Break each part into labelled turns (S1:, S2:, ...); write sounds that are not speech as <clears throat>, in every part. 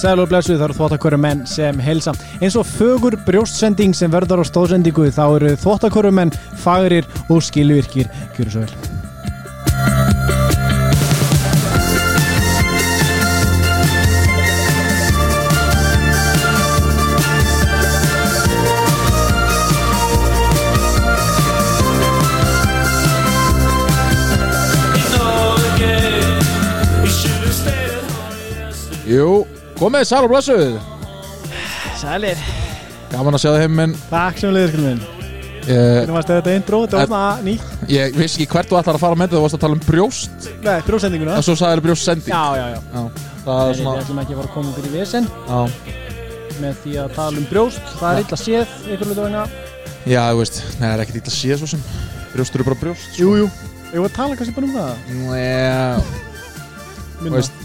S1: sæl og blessuð það eru þvóttakvöru menn sem heilsa eins og fögur brjóstsending sem verður á stóðsendingu þá eru þvóttakvöru menn fagrir og skilvirkir kjöru svo vel
S2: Jú, komið sæl og blessuð
S1: Sælir
S2: Gaman að sjá það heim, en
S1: Takk sem leiður skilum minn
S2: ég,
S1: Hvernig varst þetta einn dróð, þetta var svona nýtt
S2: ég vissi ekki hvert þú ætlar að fara með þetta Þú varst að tala um brjóst
S1: Nei, brjóstsendinguna
S2: En svo sagði þér brjóstsending
S1: Já, já, já
S2: Já, það
S1: Nei,
S2: er
S1: Við
S2: svona
S1: ætlum ekki að fara að koma okkur í vesen
S2: Já,
S1: með því að tala um brjóst Það er
S2: Nei.
S1: illa séð, ykkur hlutu vegna
S2: já þú veist, nei, það er ekkert ítla að sé svo sem Brjóst eru bara brjóst
S1: Jú, jú Ég var að tala kannski bara um það
S2: Nei,
S1: Minna.
S2: veist-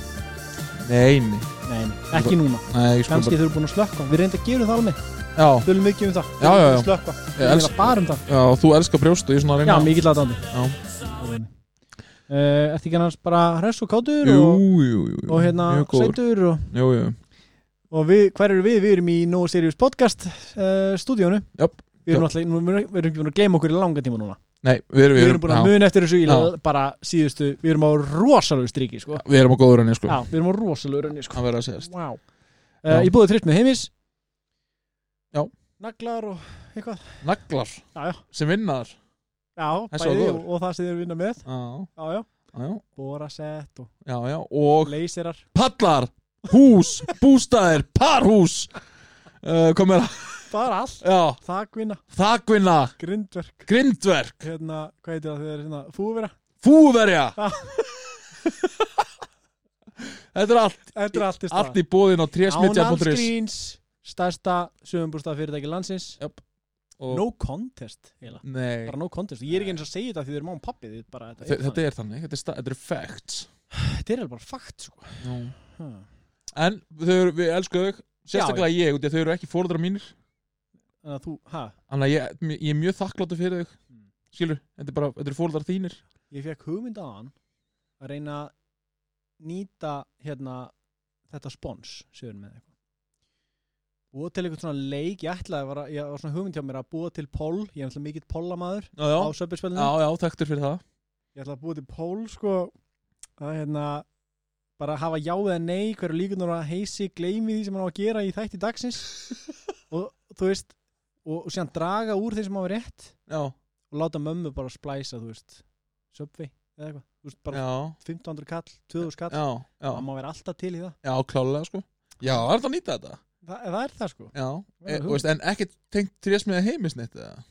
S2: nei, nei,
S1: Nei, nei, ekki núna
S2: nei ég sko
S1: Kannski þau eru búin að slökka Við reynda að gefa það alveg
S2: bara Já,
S1: Tölum mikið um það
S2: Já, já, já.
S1: Slökka
S2: Ég
S1: Við
S2: elska-
S1: erum bara um það
S2: já, þú elskar brjóst og ég er svona að
S1: Já,
S2: reyna að-
S1: mikið latandi
S2: Hérna. Já.
S1: uh, Ertu ekki annars bara hress og kátur
S2: Jú,
S1: og,
S2: jú, jú,
S1: og hérna
S2: mjög góður.
S1: sætur og,
S2: Jú, jú,
S1: og við, hver eru við? Við erum í No Serious Podcast uh, stúdíónu
S2: Jöp.
S1: Við erum alltaf, við erum við erum ekki búin að gleyma okkur í langa tíma núna
S2: nei, við erum,
S1: Við erum búin að
S2: já,
S1: muna eftir þessu í
S2: Já.
S1: bara síðustu Við erum á rosalegu striki, sko
S2: Við erum á góður henni, sko
S1: Já, við erum á rosalegu rönni, sko
S2: Það verður að segjast
S1: Vá uh,
S2: Já.
S1: Ég búið trýtt með heimis
S2: Já.
S1: Naglar og eitthvað
S2: Naglar
S1: Já, já,
S2: sem vinnar
S1: já
S2: Þessi var
S1: bæði og,
S2: góður.
S1: og það sem þið eru vinna með
S2: Já,
S1: Já, já,
S2: já,
S1: borasett og
S2: já, já, og
S1: leysirar
S2: pallar, hús, bústæðir, parhús uh, komið að,
S1: Bara allt
S2: já,
S1: þakvinna,
S2: þakvinna,
S1: grindverk
S2: grindverk,
S1: hérna, hvað heitir það þegar hérna, fúvera
S2: fúverja.
S1: Já.
S2: Þetta er allt,
S1: þetta er allt í
S2: allt
S1: stað
S2: í bóðin á trésmitja.is.
S1: Ánalskríns, stærsta sögumbústað fyrirtæki landsins
S2: Og,
S1: no contest, eiginlega
S2: nei,
S1: bara no contest, ég er ekki eins að segja þetta því þið eru má um pappi þið bara,
S2: þe-
S1: þetta,
S2: þetta er þannig, þetta er, sta- þetta er facts.
S1: þetta er alveg bara fakt sko. Ha.
S2: En þau, eru- við elskum þau, sérstaklega ég, út í að þau eru ekki fóruðra mínir.
S1: þannig að þú, hæ,
S2: Þannig að ég, ég er mjög þakkláttu fyrir þau,
S1: Mm.
S2: skilur, þetta er bara, þetta er fóruðar þínir.
S1: ég fekk hugmynd að hann að reyna að nýta hérna, þetta spons sögur með eitthvað búa til eitthvað svona leik, ég ætlaði að vera, ég var svona hugmynd hjá mér að búa til poll, ég er náttúrulega mikill pollamæður
S2: Já, já,
S1: á söpilspillinu
S2: já, já, þekktur fyrir það.
S1: ég ætla að búa til pól sko að hérna bara hafa já eða nei hverju líkunar að heisi gleymi því sem hann á að gera í þætti dagsins og þú veist og, og síðan draga úr þeir sem hafa rétt
S2: Já,
S1: og láta mömmu bara splæsa þú veist Subway eða eitthvað þú veist bara
S2: já,
S1: 1500 kall 2000 kall
S2: já, já.
S1: það má vera alltaf til í það
S2: Já, klálega sko Já, það er það að nýta þetta
S1: Þa, það er það sko
S2: Já,
S1: Já,
S2: e,
S1: hugmynd.
S2: þú veist, En ekkert tengt trésmiða heimisnitt eða?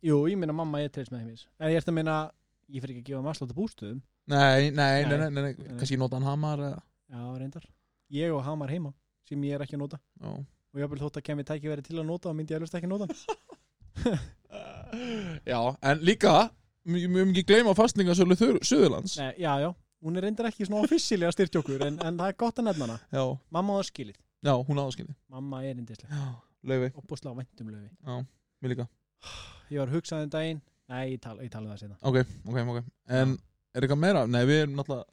S1: jú ég meina mamma ég treyst með heimis en ég ert að meina ég fyrir ekki að gefa maslóta bústöðum
S2: Nei, nei, nei,
S1: Nei.
S2: nei, nei, nei. kannski nota hann hamar eða
S1: já reyndar ég og Hamar heima sem ég er ekki að nota <laughs>
S2: Já,
S1: og ég þótt að kemur tæki til að nota og myndi ég alveg ekki nota hann.
S2: já en líka Mjög mjög mikið gleyma fastningasölu Suðurlands
S1: Nei, já, já, hún er reyndar ekki svona ofissíli að styrkja okkur en, en það er gott að nefna hana
S2: Já,
S1: Mamma á það skilið,
S2: já, hún áskilni
S1: mamma er reyndislega
S2: Já, Leifi,
S1: Opposlega væntum löfi
S2: mér líka
S1: Ég var hugsað um daginn, nei, ég tala, ég tala um það sinna
S2: Ok, ok, ok En er eitthvað meira? Nei, við erum náttúrulega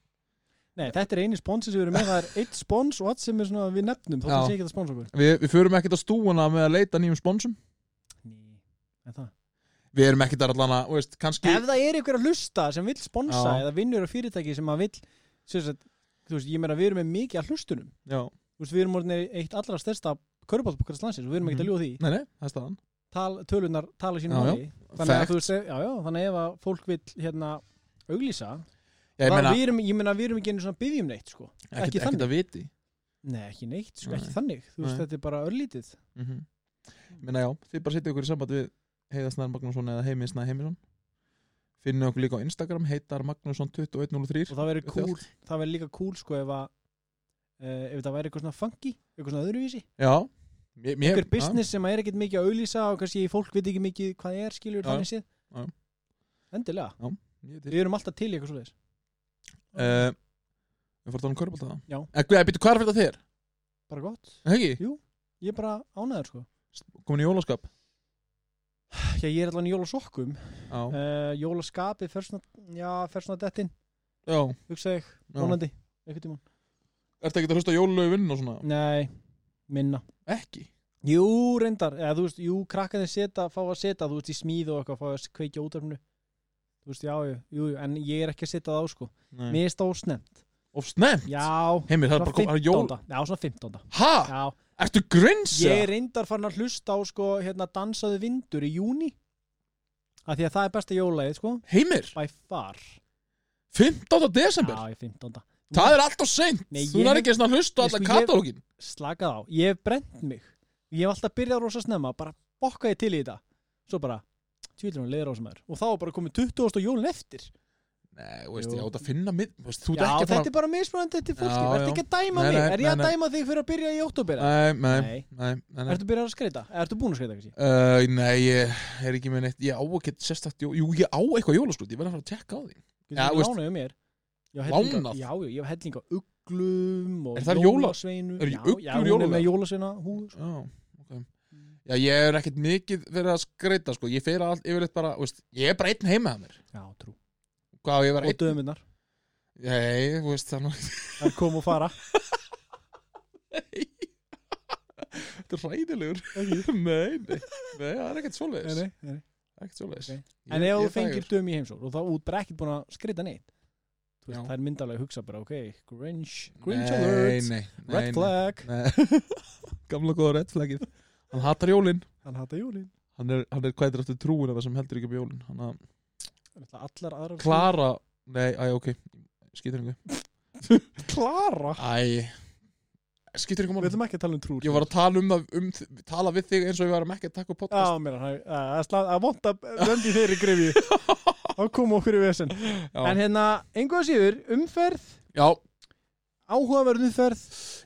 S1: Nei, þetta er eini sponsin sem við erum með, það er eitt spons og allt sem er svona við nefnum, þótt
S2: Já.
S1: það sé ekki að sponsa okkur
S2: Við, við förum ekkert á stúana með að leita nýjum sponsum
S1: Ný, en það
S2: Við erum ekkert að allan að, veist, kannski
S1: Ef það er ykkur að hlusta sem vill sponsa
S2: Já.
S1: eða vinnur á fyrirtæki sem að vill sem sagt, þú veist, ég meina við erum með mikið að hlustunum
S2: Já,
S1: Þú veist, við erum orðinir eitt allra stærsta körbátbókast landsins og við erum ekkert að
S2: Mhm.
S1: ljóða því
S2: nei, nei, það er staðan
S1: Tal, tölunar tala sínu
S2: Já, já.
S1: máli þannig að
S2: Fact.
S1: þú veist, já, já, þannig að ef að fólk vil hérna auglýsa
S2: Já, ég
S1: það
S2: meina,
S1: við erum, ég meina við erum ekki einu svona byggjum neitt sko.
S2: ekkert,
S1: ekki
S2: ekkert að viti
S1: nei, ekki neitt, sko, ekki
S2: Nei.
S1: þannig þú veist,
S2: Nei.
S1: þetta er bara örlítið
S2: mm -hmm. Menna já, þið bara setja ykkur í samband við Heiðar Snær Magnússon eða Heimi Snær Heimisson Finnum okkur líka á Instagram heitar Magnússon 2103
S1: og það verður
S2: Þetta er
S1: cool, það verður líka cool sko, ef, að, uh, ef það væri eitthvað svona funky eitthvað svona öðruvísi,
S2: Já mér, mér,
S1: eitthvað business sem er ekkert mikið að auglýsa og kannski fólk veit ekki mikið hvað það er skilur
S2: Já,
S1: þannig séð
S2: já.
S1: endilega,
S2: Við
S1: við erum alltaf til í eitthvað svoleiðis Eh.
S2: uh, fórum að tala um körbólta það
S1: Já.
S2: En hvað, býttu, eh, hvað er fyrir þér?
S1: bara gott,
S2: Er það Ekki?
S1: ég er bara ánæður sko
S2: Komin í jólaskap?
S1: já, ég er allan í jólasokkum
S2: Já,
S1: uh, jólaskapi, fer svona, já, fer svona dettin
S2: já,
S1: hugsa ég,
S2: já.
S1: vonandi einhvern tímann
S2: Ertu ekki að hlusta jólulöfinn og svona?
S1: Nei, minna
S2: Ekki
S1: Jú, reyndar, eða þú veist, jú, krakkarnir seta, fá að seta, þú veist, í smíð og eitthvað, fá að kveikja útarfinu Þú veist, já, jú, jú, jú, en ég er ekki að setja það á, sko
S2: Nei.
S1: Mér er stóðsnefnt
S2: Of snemt
S1: Já,
S2: Heimir, Mm. það er bara
S1: svona
S2: kom, það er jól Ah,
S1: 15. Já, svona 15.
S2: Hæ?
S1: Já,
S2: Ertu grins?
S1: ég er reyndar farin að hlusta á, sko, hérna, dansaðu vindur í júni Af því að það er besta jólagið, sko,
S2: Heimir,
S1: by far
S2: 15. desember
S1: Já, í 15.
S2: Það er alltaf seint
S1: Nei,
S2: Þú
S1: ég-
S2: nær ekki svona að hlusta
S1: Nei,
S2: á alla
S1: sko, ég-
S2: katalógin
S1: slakað á, ég hef brent mig ég hef alltaf byrjað rosa snemma bara bokkaði til í þetta svo bara, tjúlum við leður á sem er og þá var bara komið 20. jólin eftir
S2: Nei, þú veist,
S1: Jú.
S2: ég átt að finna mið þú veist, Þú
S1: já,
S2: ert ekki að
S1: þetta
S2: fara
S1: er bara mismunandi til fólki
S2: Já,
S1: verður
S2: já.
S1: ekki að dæma mig,
S2: Nei, nei,
S1: er ég að
S2: nei, nei.
S1: dæma þig fyrir að byrja í oktober
S2: Nei, nei,
S1: Nei.
S2: nei, nei, nei.
S1: ertu byrjað að skreita, ertu búin að skreita kannski?
S2: Uh, nei, ég er ekki með neitt Ég á ekki sérstakt jó... Jú, ég á eitthvað jólaskrúti Ég verð að fara að tekka á því Já,
S1: getur þú
S2: veist-
S1: lánað um mér já, helling,
S2: Lánað?
S1: já, já, ég hef helling á uglum og
S2: Er þar jóla-
S1: jólasveinu
S2: eru
S1: já,
S2: uglur
S1: já, hún er
S2: jólalega?
S1: með jólasveina hús
S2: Já, ok Já, ég er ekkert mikið verið að skreita sko. Ég fer all, yfirleitt bara, þú veist, ég er bara einn heima að mér
S1: já, trú,
S2: Hvað, á ég var
S1: og
S2: einn
S1: döminnar
S2: Nei, þú veist, þannig
S1: það kom og
S2: <laughs>
S1: fara Ok.
S2: Þetta er ræðilegur <laughs> Nei, nei, nei, það er ekkert
S1: Nei,
S2: svoleiðis
S1: nei, nei.
S2: Það er Ekkert svoleiðis
S1: Ok.
S2: Ég-
S1: En ef
S2: ég
S1: þú
S2: er
S1: fengir
S2: frægur.
S1: döm í heimsókn og þá út bara ekkert búin að skrita neitt þú veist,
S2: Já.
S1: það er myndalega að hugsa bara ok, Grinch, Grinch
S2: Nei,
S1: alert
S2: nei, nei
S1: Red
S2: nei.
S1: flag,
S2: Nei. <laughs> Gamla góða red flagið Hann hatar jólin
S1: hann hata júlin
S2: Hann er, hann er kvæður eftir trúin af það sem heldur ekki um jólin Hann að
S1: Allar aðra
S2: Klara Nei, æ, ok, skýtur yngu
S1: Klara?
S2: Æ, skýtur yngu
S1: Við
S2: málum
S1: ætlum ekki að tala um trúr
S2: Ég var að tala um það, um, þ- tala við þig eins og ég var að mekka að taka upp podcast
S1: Já, mér, hann- að- að slá- að vonta löndi þeirri grefi
S2: <laughs>
S1: þá kom okkur í vesen
S2: Já,
S1: En hérna, einhvað síður, umferð
S2: já,
S1: áhugaverð umferð,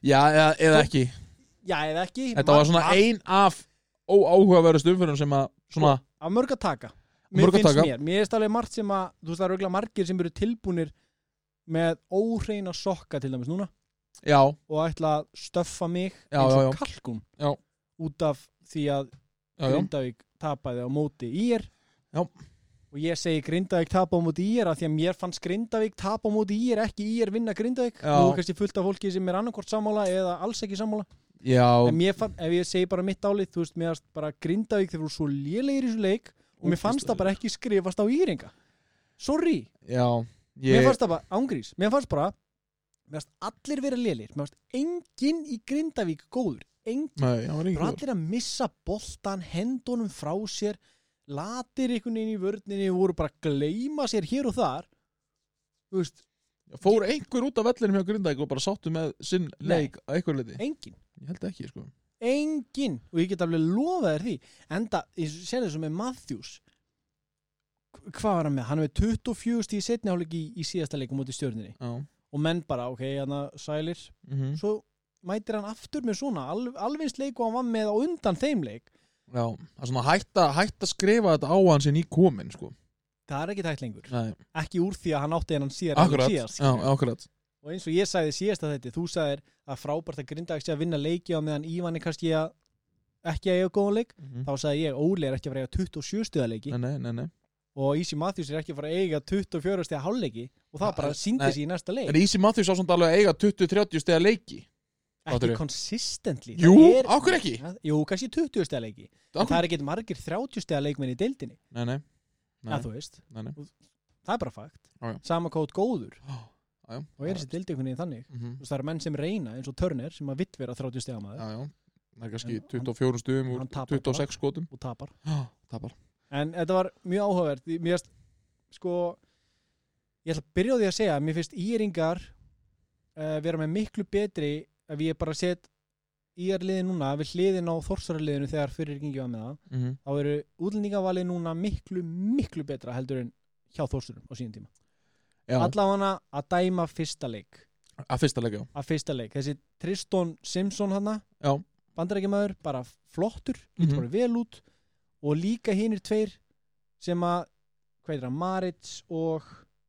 S2: já eða, eða ekki
S1: já eða ekki
S2: Þetta var svona ein af óáhugaverðust umfyrir sem að svona
S1: að mörg að taka
S2: Mörg
S1: mér
S2: að
S1: finnst
S2: taka.
S1: mér, mér finnst alveg margt sem að þú veist það eru auðvitað margir sem eru tilbúnir með óhreina sokka til dæmis núna
S2: Já,
S1: og ætla að stöffa mig
S2: Já,
S1: eins
S2: já,
S1: og
S2: já.
S1: kalkun
S2: Já.
S1: út af því að
S2: já, já
S1: Grindavík tapaði á móti í er
S2: Já.
S1: og ég segi Grindavík tapa á móti í er af því að mér fannst Grindavík tapa á móti í er ekki í er vinna Grindavík
S2: Já.
S1: nú er kannski fullt af fólki sem er annarkort sammála eða alls ekki sammála
S2: Já,
S1: en mér fann, ef ég segi bara mitt álið þú veist, mér fannst bara Grindavík þeir voru svo lélegir í þessu leik og mér fannst það bara ekki skrifast á íringa sorry,
S2: já
S1: mér
S2: Ég,
S1: fannst það bara ángrís, mér fannst bara mér fannst allir vera lélegir, mér fannst enginn í Grindavík góður, enginn
S2: nei, það var ekki
S1: bara
S2: góður
S1: allir að missa boltan hendunum frá sér latir einhvern veginn í vörninni voru bara að gleyma sér hér og þar þú veist,
S2: Fór einhver út af vellinum hjá Grindæk og bara sáttu með sinn
S1: Nei.
S2: leik að einhver leiti
S1: enginn
S2: Ég held ekki, sko
S1: enginn og ég get alveg lofað þér því enda, ég sé þessu með Matthews Hva- hvað var hann með? hann er með 24 stíð setni hálfleik í, í síðasta leikum út í stjörninni
S2: Já,
S1: og menn bara, ok, hann sælir
S2: mhm,
S1: svo mætir hann aftur með svona alv, alvins leik og hann var með á undan þeim leik
S2: já Það er svona hætt að hætta að skrifa þetta á hann sem í komin, sko
S1: það er ekki tækt lengur,
S2: Nei,
S1: ekki úr því að hann átti hennan síðar
S2: akkurat
S1: síðast,
S2: Já, akkurat
S1: og eins og ég sagði síðast að þetta þú sagðir að frábært að Grindavík sé að vinna leiki á meðan Ívan er kannski að ekki að eiga góðan leik
S2: Mhm.
S1: þá sagði ég Óli er ekki að fara að eiga 27 stuða leiki
S2: Nei, nei, nei, nei
S1: og Easy Matthews er ekki að fara að eiga 24 stuða hálfleiki og það
S2: Nei,
S1: bara
S2: nei.
S1: síndi sig í næsta leik
S2: En Easy Matthews á svona alveg að eiga 20-30 stegar leiki
S1: ekki
S2: áttu.
S1: konsistentli
S2: Jú, af hverju ekki?
S1: Jú, kannski 20 stuða leiki en það
S2: Akkur...
S1: er ekki margir 30 stuða leikminn í deildinni
S2: Nei, nei, Nei.
S1: að þú veist,
S2: nei, nei.
S1: það er bara fakt
S2: Já, já.
S1: sama kótt góður
S2: Já, já.
S1: og er þessi deildinkunni þannig
S2: Mhm.
S1: Þú veist, það eru menn sem reyna eins og Turner sem að vitt vera 30 stuða maður
S2: Já, já Það er kannski
S1: En hann-
S2: 24 stuðum úr
S1: hann tapar
S2: 26 skotum
S1: og tapar
S2: Já, <gasps> Tapar
S1: En þetta var mjög áhugavert Því Mér finnst, sko Ég ætla að byrja á því að segja að Mér finnst íringar uh, vera með miklu betri ef ég bara set íjarliði núna við hliðin á þorsaraliðinu þegar fyrir gengi var með það
S2: Mhm.
S1: þá eru útlendingavalið núna miklu, miklu betra heldur en hjá þorsurum á síðan tíma
S2: Já,
S1: Allavega að dæma fyrsta leik
S2: að fyrsta leika, já
S1: að fyrsta leik Þessi Tristan Simpson hana
S2: Já,
S1: bandarækjamaður, bara flottur
S2: Mhm.
S1: bara vel út og líka hinnir tveir sem að hvað er það, Marits og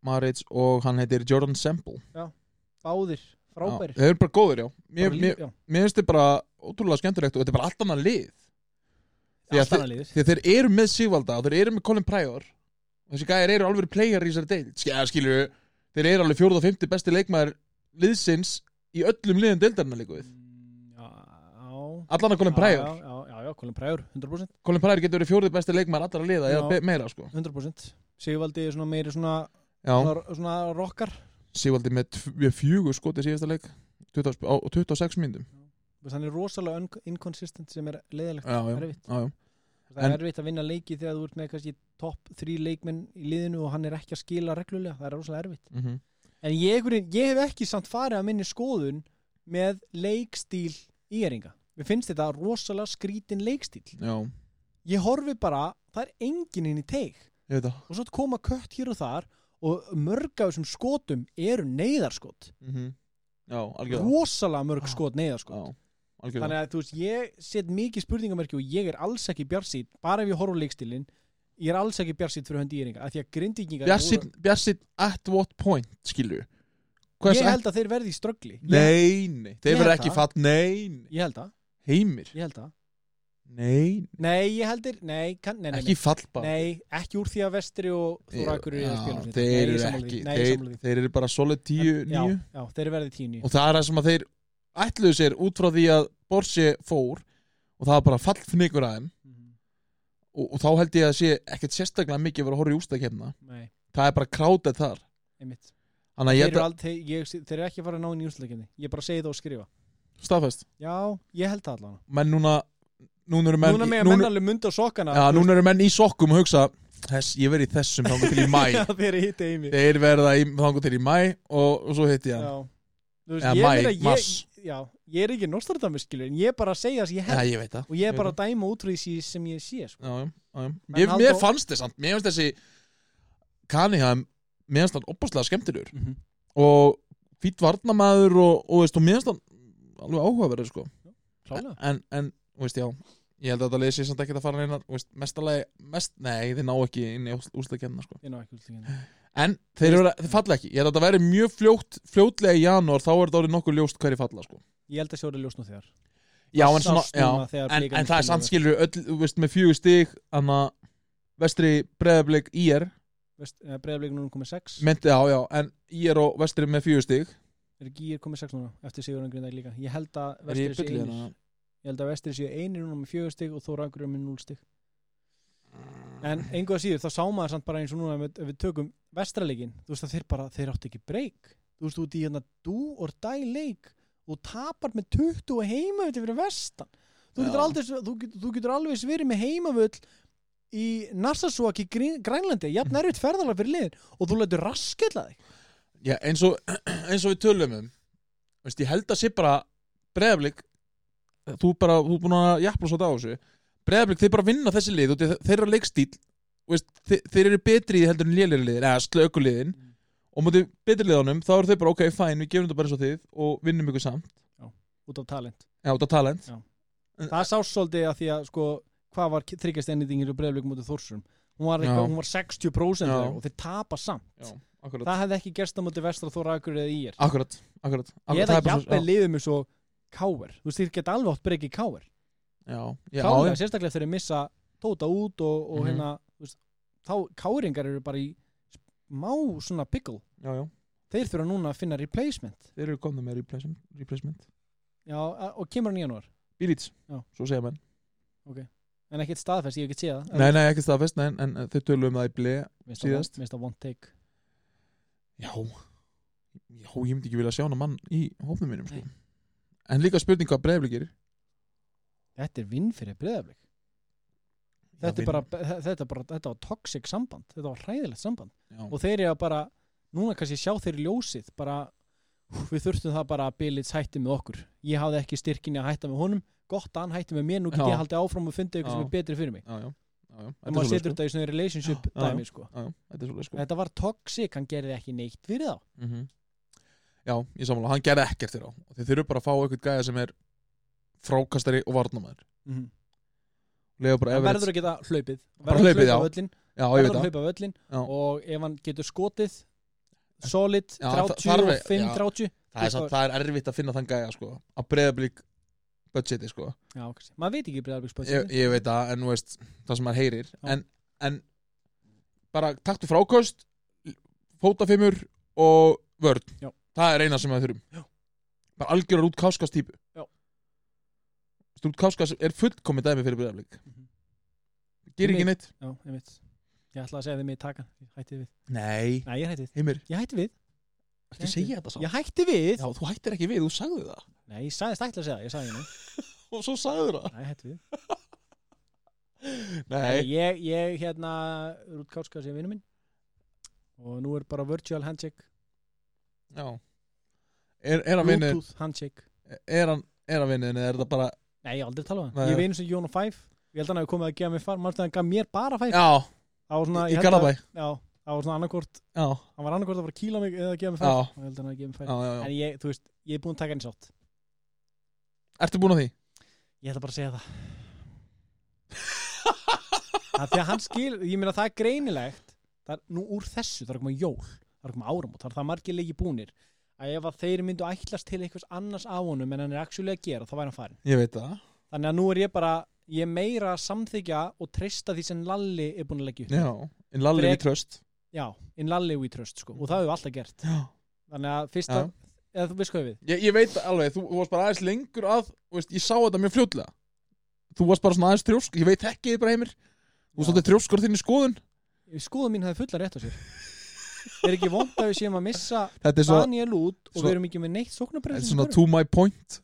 S2: Marits og hann heitir Jordan Semple
S1: Báðir frábæri
S2: Já, Þeir eru bara góðir, já Mér, mér, mér finnst þið bara ótrúlega skemmtilegt og þetta er bara allt annað lið Því að
S1: alltaf
S2: þið-
S1: hann liður
S2: Því að þeir eru með Sigvalda og þeir eru með Colin Pryor og þessi gæjar eru alveg player í þessari deild Ski- eða skilur við, þeir eru alveg fjórða og fymti besti leikmaður liðsins í öllum liðum deildarinnar líka við
S1: Mm, Já, já
S2: allan að Colin Pryor
S1: Já, já, já, já, Colin Pryor, 100%
S2: Colin Pryor getur verið fjórið besti leikmaður allra liða eða
S1: Já.
S2: be- meira sko
S1: 100% Sigvaldi er svona meiri svona,
S2: já,
S1: svona, svona rockar
S2: Sigvaldi með, tv- með fjögur skoti síðasta leik 20, sp- á 26 myndum
S1: Þú veist, hann er rosalega un- inconsistent sem er leiðilegt
S2: já, já,
S1: Erfitt.
S2: já, já.
S1: það er
S2: En-
S1: erfitt að vinna leiki þegar þú ert með kannski topp þrý leikmenn í liðinu og hann er ekki að skila reglulega, það er rosalega erfitt
S2: Mm -hmm.
S1: en ég, einhvern veginn- ég hef ekki samt farið að minni skoðun með leikstíl íringa, mér finnst þetta rosalega skrítin leikstíl
S2: já,
S1: ég horfi bara, það er enginn inn í teig
S2: ég veit það
S1: og svo koma kött hér og þar og mörg af þessum skotum eru neyðarskot
S2: mm -hmm. já, algjörða
S1: rosalega mörg
S2: Já.
S1: skot neyðarskot
S2: Ah. já, algjörða
S1: þannig að þú veist, ég set mikið spurningamerki og ég er alls ekki bjarsýtt bara ef ég horf á leikstilin ég er alls ekki bjarsýtt fyrir höndi íringa af því að grindíkingar
S2: Bjarsit, Bjarsit at what point skilur
S1: voru,
S2: Hvers
S1: ég held að þeir verði í ströggli ég,
S2: Nei, nei,
S1: Ég
S2: þeir
S1: held
S2: verða ekki
S1: það.
S2: fatt Nei, nei.
S1: ég held að,
S2: heimir
S1: ég held að
S2: Nei,
S1: nei, ég heldir, nei, kann, nei, nei,
S2: ekki fatt
S1: nei,
S2: bara
S1: nei, ekki úr því að vestri og þú rakur eru
S2: Já,
S1: að spila um
S2: Þeir
S1: nei,
S2: eru
S1: ég sammála
S2: ekki
S1: því. nei, ég
S2: þeir,
S1: sammála því.
S2: þeir eru bara solid 10,
S1: já,
S2: 9
S1: já, þeir eru verði tíu nýju
S2: Og það er það sem að þeir ætluðu sér út frá því að Borsi fór og það var bara fallfnikur að þeim
S1: Mhm.
S2: og, og þá held ég að sé ekkert sérstaklega mikið að vera að horfa í ústakefna
S1: nei,
S2: Það er bara krátið þar
S1: einmitt
S2: Þannig að
S1: þeir
S2: ég
S1: eru,
S2: held að
S1: aldrei, ég, þeir eru ekki að fara að ná inn í úrslökinni ég bara segi það og skrifa
S2: staðfest
S1: já, ég held það allan
S2: Menn núna Núna eru menn
S1: núna með að
S2: núna-
S1: menna alveg munda á sokkana
S2: Já,
S1: þú
S2: núna eru menn í sokkum og hugsa Þess, ég verið í þessum þangur til í
S1: <laughs>
S2: mæ
S1: <laughs> Já, þeir hitti Amy
S2: Þeir verða í, þangur til í mæ og, og svo hitti ég
S1: Já
S2: hann
S1: Þú veist,
S2: Eða
S1: ég
S2: maí,
S1: meina, ég,
S2: mars.
S1: já, ég er ekki Nostradamus skilur en ég er bara að segja það sem ég
S2: Já,
S1: hef
S2: ég veit það
S1: og ég er bara
S2: veit
S1: að dæma út frá því sí- sem ég sé sko.
S2: það. Já, já, já, já.
S1: Menn
S2: Mér, mér
S1: Halldór-
S2: fannst þess samt, mér finnst þessi Kaniham, mér finnst hann opaslega skemmtilegur og fýtt varnamaður og, og, veist, og mér finnst hann alveg áhugaverður sko.
S1: Klálega
S2: en, en, þú veist, já ég held að þetta leysi samt ekki að fara neina veist, mestalagi, mest, nei, þeir ná ekki inn í ústakefna sko.
S1: Ég ná ekki útlíkinu
S2: En þeir, eru, þeir falla ekki Ég held að þetta væri mjög fljótt, fljótlega í janúar Þá er þetta orðið nokkuð ljóst hverju falla sko.
S1: Ég held að sjóra ljós nú þegar
S2: Já,
S1: Það
S2: en, svona,
S1: sást núna
S2: já,
S1: þegar
S2: en,
S1: Blikar
S2: en það er samt
S1: spiluðu.
S2: skilur öll, þú veist, Með fjögur stig Þannig að vestri breðablik IR
S1: Breiðarblik eh, núna komið 6
S2: Myndi, já, já, en IR og vestri með fjögur stig
S1: Er ekki ég komið 6 núna eftir Sigurðan Grindag líka Ég held að
S2: Er ég
S1: vestri séu
S2: byllið
S1: einir
S2: hérna?
S1: Ég held að vestri séu einir núna með fjögur stig og Þóra Akureyri með 0 stig En engu að síður, þá sá maður samt bara eins og núna ef við- ef við tökum vestralegin, þú veist að þeir bara, þeir áttu ekki breyk. Þú veist, þú ert í hérna do or die leik og tapar með 20 heimavöld fyrir vestan. Þú getur,
S2: Já.
S1: aldrei, þú, getur, þú getur alveg sverið með heimavöld í Narsasóak í Grín- Grænlandi, jafn erfitt ferðalega fyrir liðin og þú letur raskella þig.
S2: Já, eins og, <clears throat> eins og við tölum um veist, Ég held að sé bara breðablik Þú bara, þú er búin að jafnla svo þetta á þessu Breðablik, þeir bara vinna þessi lið og þeir, þeirra leikstíl veist, þeir, þeir eru betri í því heldur en lélir liðin eða slökuliðin
S1: Mm.
S2: og mútið betri liðanum, þá eru þeir bara ok, fæn, við gefum þetta bara eins og þið og vinnum ykkur samt
S1: Út af talent.
S2: Já, þetta talent
S1: Það sá svolítið að því að sko, hvað var þryggjast ennýtingir og breyðleikum út af Þórsurum. Hún var, eitthvað,
S2: Já.
S1: hún var 60%
S2: Já.
S1: þeirra og þeir tapa samt.
S2: Já, akkurat
S1: Það hefði ekki gerst á móti vestra Þóra Akureyri eða Ír.
S2: Akkurat, akkurat, akkurat
S1: eða
S2: það er bara svo-
S1: jafnveg liðið með svo káver þú veist, þeir geta alveg átt breyki káver
S2: Já, já, já,
S1: káver, sérstaklega þegar þeir missa tóta út og, og
S2: Mhm.
S1: hérna þú veist, þá káringar eru bara í má svona pickle
S2: já, já
S1: þeir þurfa núna að finna replacement
S2: Þeir eru komna með replacement, replacement.
S1: já, a- og kemur hann í janúar
S2: Bílíts,
S1: Já.
S2: svo segja menn
S1: en ekkert staðfest, ég hef ekki séð það
S2: Nei, nei, ekki staðfest, nei, en, en þau tölum um það í blei
S1: minnst
S2: síðast.
S1: að, minnst að one take
S2: Já Já, ég myndi ekki vilja sjá hana mann í hófnum mínum sko. En líka spurning hvað breyfli gerir
S1: þetta er vinn fyrir breyðaflik þetta, er bara, þetta, er bara, þetta var toxic samband þetta var hræðilegt samband
S2: Já,
S1: og þeir eru að bara, núna kannski sjá þeir í ljósið bara, hú, við þurftum það bara að Billits hætti með okkur ég hafði ekki styrkinni að hætta með honum gott að hann hætti með mér, nú get
S2: Já.
S1: ég haldið áfram og fundið eitthvað
S2: Já.
S1: sem er betri fyrir mig
S2: já, já, já, já.
S1: en
S2: Þetta, er
S1: maður
S2: svoleið,
S1: setur
S2: sko.
S1: þetta í svona relationship
S2: Já, já.
S1: dæmi sko
S2: já, já, þetta er svolítið sko
S1: þetta var toxic, hann gerði ekki neitt fyrir þá
S2: mm Já, ég samanlega, hann gerði ekkert þér á og Þeir þurfu bara að fá eitthvað gæða sem er frákastari og varnamæður Lega bara
S1: hann
S2: Everett
S1: verður að geta hlaupið
S2: Mhm. Bara
S1: verður
S2: hlaupið,
S1: að
S2: já.
S1: hlaupa völlin,
S2: Já, ég veit
S1: verður að
S2: það
S1: hlaupa völlin
S2: Já.
S1: og ef hann getur skotið solid,
S2: Já, það- þarf að-
S1: 35,
S2: já.
S1: 30
S2: Það er, samt, það er erfitt að finna þann gæða sko Að breyða blík budgeti sko
S1: já, kannski. maður veit ekki bregðarbyggs
S2: ég, ég veit það, en þú veist það sem maður heyrir
S1: Já.
S2: en, en bara taktu frákost fótafimur og vörn
S1: Já.
S2: það er eina sem við þurfum
S1: Já.
S2: bara algjörar út káskas típu
S1: Já.
S2: Þú út káskas er fullkomið dæmi fyrir breyðaflik
S1: Mhm.
S2: Gerir
S1: Nei.
S2: ekki neitt
S1: Já, einmitt. Ég ætla að segja þið mig í takan. Ég hætti við.
S2: Nei,
S1: Nei, ég hætti við.
S2: heimir,
S1: Ég hætti við.
S2: ekki segja þetta samt
S1: Ég hætti við.
S2: Já, þú hættir ekki við, þú sagði það
S1: Nei, ég sagðist ætla að segja það. Ég sagði nú.
S2: Og svo sagði það
S1: Nei, ég hætti við.
S2: Nei,
S1: Ég, ég hérna, Rút Kárska sem vinnu minn. Og nú er bara virtual handshake.
S2: já Er, er að vinni
S1: Bluetooth handshake.
S2: Er hann Er að vinni, en er þetta bara
S1: Nei, ég hef aldrei talað um
S2: Nei.
S1: það. Ég vinu sem Jón og Fæf. Ég held að hann hefur komið að gefa mér far. Mannstu að hann gaf mér bara Fæf.
S2: Já,
S1: Það var svona,
S2: í
S1: ég held að,
S2: Garðabæ
S1: já, það var svona annarkort,
S2: Já,
S1: hann var annarkort að fara að kýla mig eða að gefa mér
S2: já,
S1: fæf. Og ég held að hann hafi gefið mér fæf.
S2: já, já, já.
S1: En ég, þú veist, ég er búin að taka henni sátt.
S2: Ertu búin að því?
S1: Ég ætla bara að segja það. það því að hann skil, ég meina það er greinilegt. Það er nú úr þessu, það er að koma jól, það er að koma áramót, það er það margir leiki búnir. Að ef að þeir myndu ætlast til eitthvað annars á honum en hann er actually að gera, þá væri hann farin.
S2: Ég veit það
S1: Þannig að nú er ég bara, ég er meira að samþykja og treysta því sem Lalli er búin að leggja upp.
S2: Já, en Lalli
S1: Dreg-
S2: við tröst
S1: Já, in Lalli we trust, sko. Og það hefur alltaf gert.
S2: Já
S1: Þannig að fyrsta, eða þú veist hvað ég við.
S2: Ég, ég veit það alveg, þú, þú varst bara aðeins lengur að þú veist, Ég sá þetta mjög fljótlega Þú varst bara svona aðeins trjósk, ég veit ekki þið bara heimir Þú varst
S1: Já.
S2: alltaf trjóskur þinn í skoðun
S1: Skoðum mín hafði fulla rétt á sér. er ekki vond að við séum að missa
S2: Þetta er, svo,
S1: Daniel út og
S2: svo-
S1: við erum ekki með neitt
S2: þetta er
S1: sóknabreyð
S2: svona to my point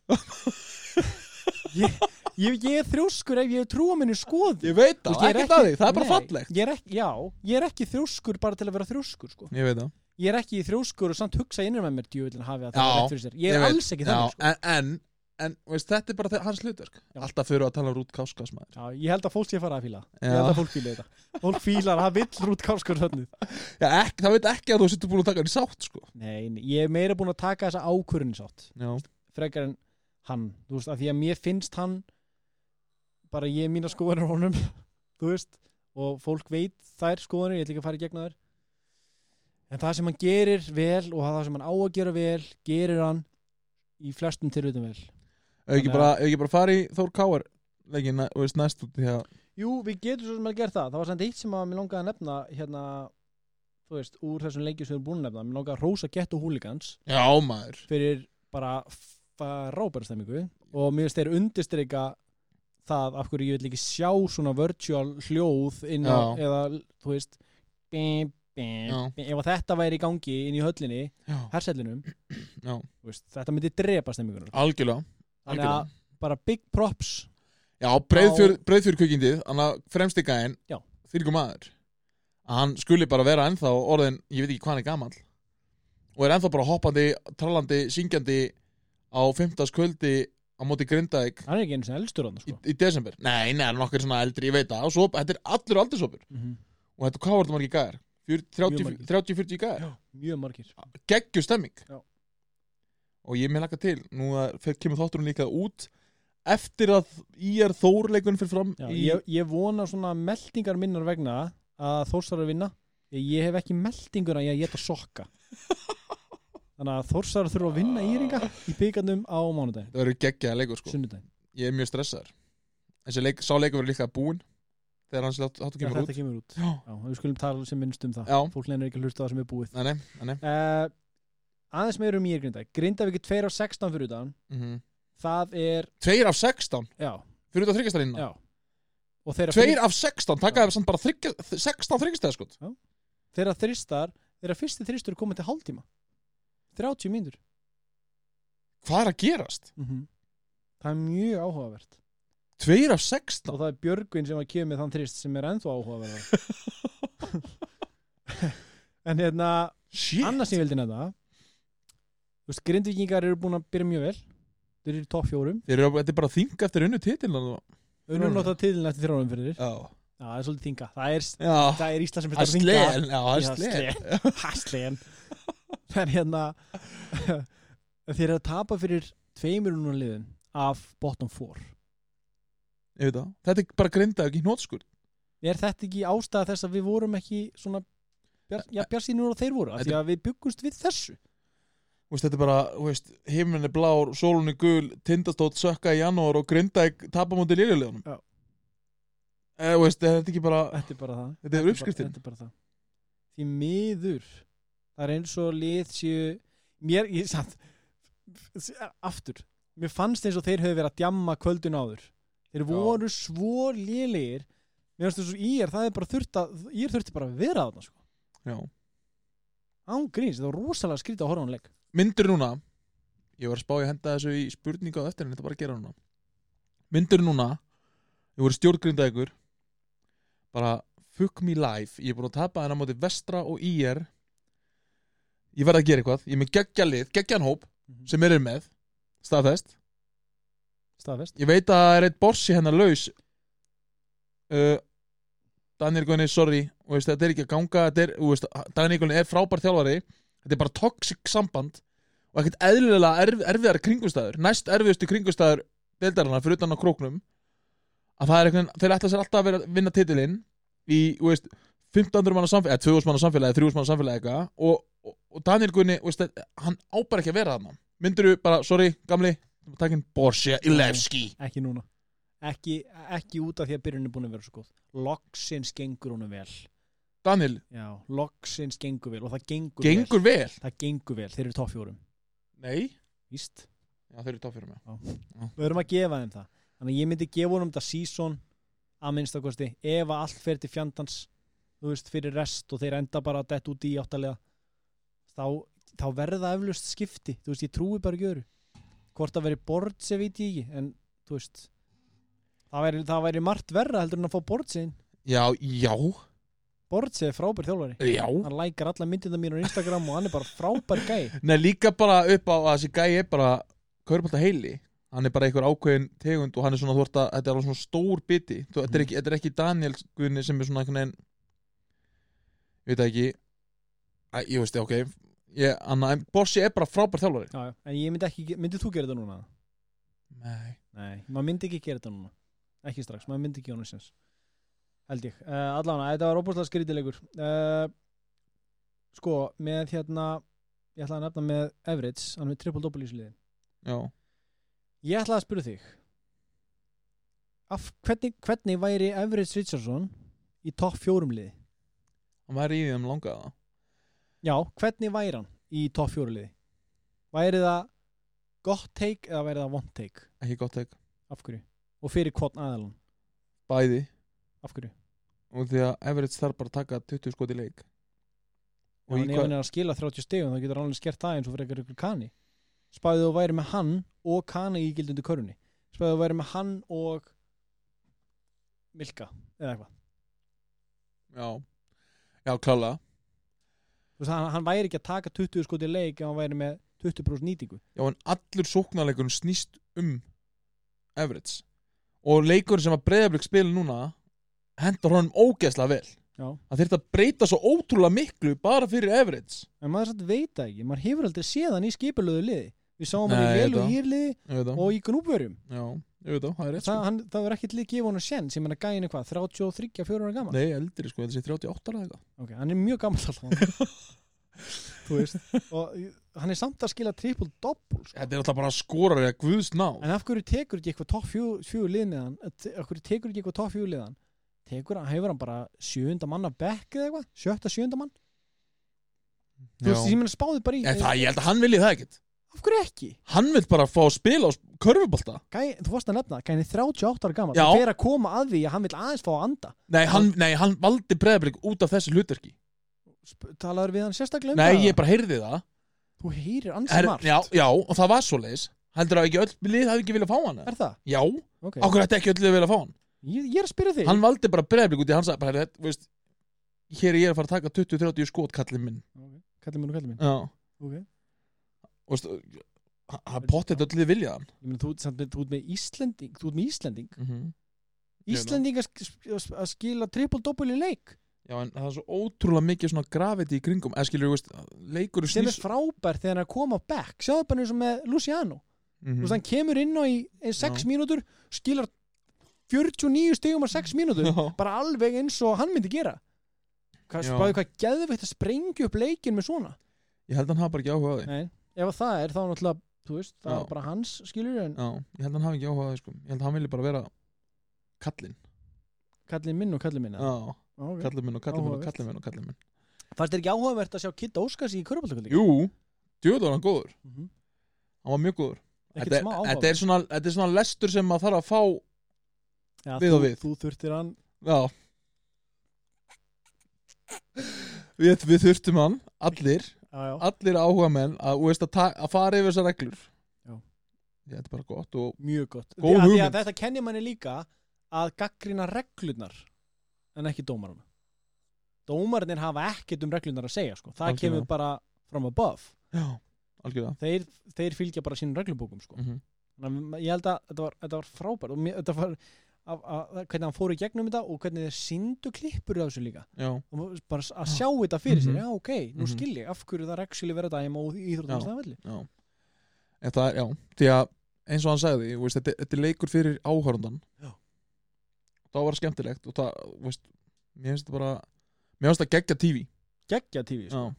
S1: ég, ég er þrjóskur ef ég hef trú á minni skoð
S2: Ég veit það, ekkert að því, það er bara fallegt
S1: ég er ekki, Já, ég er ekki þrjóskur bara til að vera þrjóskur sko.
S2: Ég veit það
S1: Ég er ekki þrjóskur og samt hugsa innra með mér djúvillin hafi að það
S2: Já,
S1: er rétt fyrir sér Ég er
S2: veit.
S1: alls ekki
S2: Já,
S1: þannig sko.
S2: en, en, en þú veist, þetta er bara þe- hans hlutverk
S1: Já.
S2: Alltaf fyrir að tala um rút káskas maður
S1: Já, Ég held að fólk sé að fara að fíla Ég
S2: Já.
S1: held að fólk fíla þetta Fólk fílar að vill rút káskur hönnu
S2: Já, ekki, það veit ekki að þú sittur búin að taka hann í sátt sko.
S1: Nei, nei, ég er meira búin að taka þessa ákvörðin sátt
S2: Já,
S1: frekar en hann þú veist, að því að mér finnst hann bara ég er mína skoðanir á honum <laughs> þú veist, og fólk veit þær skoðanir, ég ætla ekki að fara í gegna þær en það sem hann gerir vel og það sem hann á að gera vel gerir hann í flestum tilvítum vel
S2: ef
S1: Þannig
S2: ekki
S1: að-
S2: bara, ef ekki bara fari í Þór Káar leikin, þú veist, næst út því að
S1: Jú, við getum svo sem að gera það það var samt eitt sem að mér langaði að nefna hérna, þú veist, úr þessum leikjum sem við erum búin að nefna mér langaði að rósa gett og húligans
S2: Já, maður
S1: fyrir bara rábærstemmingu og mér finnst þeir undirstreika það af hverju ég vil ekki sjá svona virtual hljóð inn á,
S2: Já.
S1: eða þú veist bim, bim,
S2: Já.
S1: bim, ef að þetta væri í gangi inn í höllinni,
S2: Já,
S1: hersellinum
S2: já,
S1: veist, þetta myndi drepa stemmingunum
S2: algjörlega
S1: þannig
S2: algjörlega.
S1: að bara big props
S2: Já, breyðfjör, breyðfjör kvikindið, hann að fremsti gæðin
S1: Já.
S2: þýrgum maður að hann skuli bara vera ennþá orðin ég veit ekki hvað hann er gamall og er ennþá bara hoppandi, trallandi, syngjandi á fimmtaskvöldi á móti Grindavík
S1: hann er ekki einu sem elstur hann
S2: í,
S1: sko.
S2: í desember Nei, nei, hann er nokkur svona eldri, ég veit það og svo, þetta er allur aldursopur
S1: mm -hmm.
S2: og þetta, hvað var þetta margir gæðar? Fjör- 30
S1: margir.
S2: 30-40 gæðar?
S1: mjög margir
S2: geggju stemming
S1: Já.
S2: og ég með laka til nú að fer- kemur þátturinn líka út eftir að ég er þórleikun fyrir fram
S1: Já,
S2: í,
S1: ég, ég vona svona meldingar minnar vegna að Þórsar er að vinna ég, ég hef ekki meldingur að ég geta
S2: <laughs>
S1: sokka þannig að Þórsar þurfa að vinna íringa í byggarnum á mánudaginn,
S2: það verður geggjaða leikur sko
S1: sunnudaginn
S2: ég er mjög stressaður þessi leik, sá leikur verður líka búinn þegar hans þáttur þáttur
S1: þegar
S2: kemur
S1: þetta
S2: út
S1: kemur út
S2: já,
S1: Já, við skulum tala sem minnst um það
S2: já,
S1: fólk lennir ekki að hlusta á það sem er búið
S2: nei, nei, nei, nei.
S1: uh, aðeins meður um ég grinda Grindavík er 2 á 16 fyrir utan
S2: mhm.
S1: það er,
S2: tveir af 16
S1: já,
S2: fyrir út á þryggjastarinn
S1: já og þeirra,
S2: tveir af 16, taka það samt bara þryggja, 16 þryggjastar sko
S1: þeirra þristar þeirra fyrsti þristur er komið til hálftíma 30 mínútur
S2: hvað er að gerast?
S1: Mhm. það er mjög áhugavert
S2: tveir af 16
S1: og það er Björgvin sem að kemur með þann þrist sem er ennþá <laughs> áhugaverða en hérna
S2: shit,
S1: annars sem ég vildi nefna þú veist, grindvikingar eru búin að byrja mjög vel þeir eru í topp fjórum
S2: Þeir eru- þetta er bara þing eftir unnu titil
S1: unnum nota tilin eftir þrjórum fyrir
S2: já,
S1: það er svolítið þinga það er,
S2: já
S1: það er Ísland sem fyrst
S2: Það er
S1: að þinga
S2: slen, já, það er slen
S1: <laughs> Haslen Það er hérna <laughs> Þeir eru að tapa fyrir tveimur núna liðin af bottom four
S2: Ég veit það. Þetta er bara grinda ekki hnótskur
S1: er þetta ekki ástæða þess að við vorum ekki svona bjar, já, bjarsýnur og þeir voru, af því að við byggumst við þessu
S2: veist, Þetta er bara, þú veist, himnin er blár, sólun er gul Tindastótt sökka í janúar og grinda tapa múti lirjulegunum
S1: Já.
S2: e, veist, Er þetta ekki bara
S1: þetta er bara það,
S2: Þetta er uppskriftin
S1: Þetta er bara, þetta er bara það. því miður það er eins og lið séu mér, ég satt aftur, mér fannst eins og þeir höfðu verið að djamma kvöldin áður þeir voru svo lélegir mér fannst þessu ír, það er bara þurft að ír þurfti bara að vera þarna sko
S2: Já.
S1: án gríns, það var rosalega skrítið að horfa á hann leik
S2: myndir núna ég var að spá ég að henda þessu í spurningu á eftir en þetta bara að gera núna myndir núna ég voru stjórngrinda ykkur bara fuck me life ég er búin að tapa hennar móti vestra og IR ég verð að gera eitthvað ég er með geggja lið, geggjan hóp
S1: Mhm.
S2: sem er með, staðfest
S1: staðfest,
S2: ég veit að það er eitt borsi hennar laus uh, Daniel Gunni, sorry þú veist, þetta er ekki að ganga þetta er, þú veist, Daniel Gunni er frábær þjálfari þetta er bara toxic samband og ekkert eðlilega erf, erfiðar kringumstæður næst erfiðustu kringumstæður deildarinnar fyrir utan á króknum að það er einhvern, þeir ætla sér alltaf að vera að vinna titilinn í, þú veist, 1500 manna samfélagi, eða 2000 manna samfélagi, 3000 manna samfélagi eitthvað og, og, og Daniel Gunni, þú veist, hann ábar ekki að vera þarna myndirðu bara, sorry, gamli takkinn Borsia Ilevski
S1: ekki núna ekki, ekki út af því að byrjun er búin að vera svo góð loksins gengur honum vel
S2: Daniel,
S1: já, loksins gengur vel og það gengur,
S2: gengur vel
S1: vel það gengur vel, þeir eru toffjórum
S2: Nei,
S1: víst,
S2: já, þeir eru tóf fyrir mig
S1: við erum að gefa þeim það þannig að ég myndi gefa honum þetta season að minnstakosti, ef að allt fer til fjandans þú veist, fyrir rest og þeir enda bara dett út í áttalega þá, þá verða eflust skipti þú veist, ég trúi bara ekki öru hvort að veri bort sem veit ég ekki en þú veist það væri, það væri margt verra heldur en að fá bort sin
S2: Já, já,
S1: bort er frábær þjálfari
S2: já
S1: hann lækar alla myndina mín á Instagram og hann er bara frábær gæi
S2: Nei, líka bara upp á að þessi gæi er bara Kaurbalta heili Hann er bara einhver ákveðin tegund og hann er svona þú ert að, Þetta er alveg svona stór biti Þú, þetta, er ekki, þetta er ekki Daniel Gunni sem er svona einhvern veginn Ég veit það ekki Æ, Ég veist, ok ég, anna, En Borsi er bara frábær þjálfari
S1: <laughs> já, já. en ég myndi ekki, ge- myndið þú gera þetta núna?
S2: Nei
S1: Nei, maður myndi ekki gera þetta núna ekki strax, maður myndi ekki honum sens held ég, uh, allavega, þetta var óbúslega skrítilegur uh, sko, með hérna ég ætlaði að nefna með Everits hann er með triple-double í sliði
S2: Já,
S1: ég ætlaði að spyrja þig af hvernig, hvernig væri Everits Richardson í topp fjórum liði
S2: hann væri í því þeim langaða
S1: já, hvernig væri hann í topp fjórum liði væri það gott take eða væri það vond take
S2: Ekki gott ekki,
S1: af hverju, og fyrir hvort aðalan
S2: bæði
S1: af hverju,
S2: og því að Everett þarf bara að taka 20 skot í leik
S1: og ef hann er að skila 30 stegum þá getur hann alveg skert það eins og fyrir eitthvað kani spæðið þú væri með hann og kani í gildundu körunni spæðið þú væri með hann og Milka eða eitthvað
S2: já, já klála
S1: Þú veist, hann, hann væri ekki að taka 20 skoti leik ef hann væri með 20% nýtingu
S2: já en allur sóknarleikurinn snýst um Everett og leikurinn sem að breyðablík spila núna hendur honum ógeðslega vel
S1: Já.
S2: það þurft að breyta svo ótrúlega miklu bara fyrir Everett
S1: en maður satt veit það ekki, maður hefur aldrei séð hann í skipulöðu liði við sáum
S2: Nei,
S1: hann í
S2: ég veit
S1: vel og
S2: það.
S1: hýrliði
S2: ég veit það,
S1: og í gnúbverjum
S2: já, ég veit það, það er rétt
S1: það,
S2: sko.
S1: hann, það var ekkert lið gefa hann að sjens ég menna gæin eitthvað, 33, 4 ára gammal
S2: nei, eldri sko, þetta sé 38 ára eða eitthvað
S1: ok, hann er mjög gammal
S2: <laughs>
S1: alltaf þú veist og hann er samt að skila triple double sko.
S2: þetta er alltaf bara skorar eða guðsná
S1: en af hverju tekur ekki eitthvað topp fjó- fjögur lið með hann Eh, af hverju tekur ekki eitthvað topp fjögur liðan tekur hann, hefur hann bara sjöunda mann af bekk eða eitthvað, sjötta sjöunda mann þú veist, ég
S2: en
S1: meina spáði bara í
S2: það, ég held að hann vilji það ekkit
S1: af hverju ekki,
S2: hann vil bara fá að spila á körfubolta
S1: Gæ, þú varst að nefna gæni 38 ára gammal,
S2: Já.
S1: það fer að koma að því að hann vil aðeins fá að anda
S2: Nei, hann, nei, hann valdi breyðablík út af þessu hlutverki
S1: Sp- talaður við hann sérstaklega um
S2: Nei,
S1: það?
S2: ég bara heyrði það
S1: þú heyrir ansið
S2: er,
S1: margt,
S2: já, já, og það var svoleiðis Heldur að ekki öll lið hafi ekki viljað fá hann eða?
S1: er það?
S2: Já, okay.
S1: ok,
S2: okkur ætti ekki öll lið viljað fá hann
S1: ég, ég er að spyrja þig
S2: Hann valdi bara breyðablík út í hans að bara, þetta, veist, Hér er ég að fara að taka 20-30 skot kallið minn
S1: okay. kallið minn og kallið minn
S2: Já,
S1: okay.
S2: og veist Hann potið öll lið viljað hann
S1: Ég meina, þú, ert samt með- þú ert með Íslending Þú ert með Íslending
S2: mm -hmm. Ég veit það.
S1: Íslending að sk- að að skila triple-double í leik
S2: Já, en það er svo ótrúlega mikið svona graviti í kringum Eða skilur, veist, leikur
S1: sem er frábær þegar hann er að koma á back Sjáðu bara eins og með Luciano
S2: Mhm.
S1: Þú veist, hann kemur inn á í 6
S2: Já.
S1: mínútur skilar 49 stigum á <laughs> 6 mínútur bara alveg eins og hann myndi gera Hvað
S2: Já.
S1: spáðu hvað geðveitt að sprengja upp leikin með svona
S2: Ég held að hann hafa bara ekki áhuga á því
S1: Nei, ef að það er þá náttúrulega þú veist, það
S2: Já.
S1: er bara hans skilur en
S2: Já, ég held að hann hafi ekki áhuga á því sko. Ég held að hann vilji bara vera kallinn
S1: kallið minn og kallið minn
S2: Já,
S1: okay.
S2: kallinn minn og kallinn minn og
S1: Áhugavert.
S2: kallinn minn og kallinn minn
S1: Fannst þér ekki áhugavert að sjá Kitta Óskars í Körbáltakvöldi?
S2: Jú, djöðu var hann góður
S1: mm -hmm.
S2: hann var mjög góður
S1: ekkert
S2: þetta,
S1: smá
S2: er-
S1: áhuga
S2: þetta, er svona, þetta er svona lestur sem maður þarf að fá
S1: Já,
S2: við
S1: þú,
S2: og við.
S1: þú þurftir hann
S2: Já Við, við þurftum hann, allir
S1: já, já.
S2: allir áhuga menn að, þú veist, að, ta- að fara yfir þessar reglur
S1: Já.
S2: Ég, Þetta er bara gott og
S1: mjög gott
S2: Góð
S1: Af því að
S2: hugmynd.
S1: þetta kennir manni líka að gaggrina reglunar en ekki dómarana dómarnir hafa ekkert um reglunar að segja sko. það
S2: Algjörlega.
S1: kemur bara from above
S2: Já, algjörlega
S1: þeir, þeir fylgja bara sínum reglubókum sko.
S2: mm -hmm.
S1: Þannig að ég held að þetta var, þetta var frábært og mér, þetta var að, að, að, hvernig hann fór í gegnum þetta og hvernig þeir sindu klippur á þessu líka
S2: Já,
S1: og bara s- að sjá þetta fyrir sér
S2: Mhm.
S1: já ok, nú
S2: Mhm.
S1: skil ég, af hverju það er actually verið dæma og íþróttum staðvelli
S2: já En það er, já, því að eins og hann sagði, þú veist, þetta, þetta er leikur fyrir áhörundan
S1: Já.
S2: Það var skemmtilegt og það, þú veist, mér finnst þetta bara mér finnst það geggja TV
S1: geggja tífi, sko.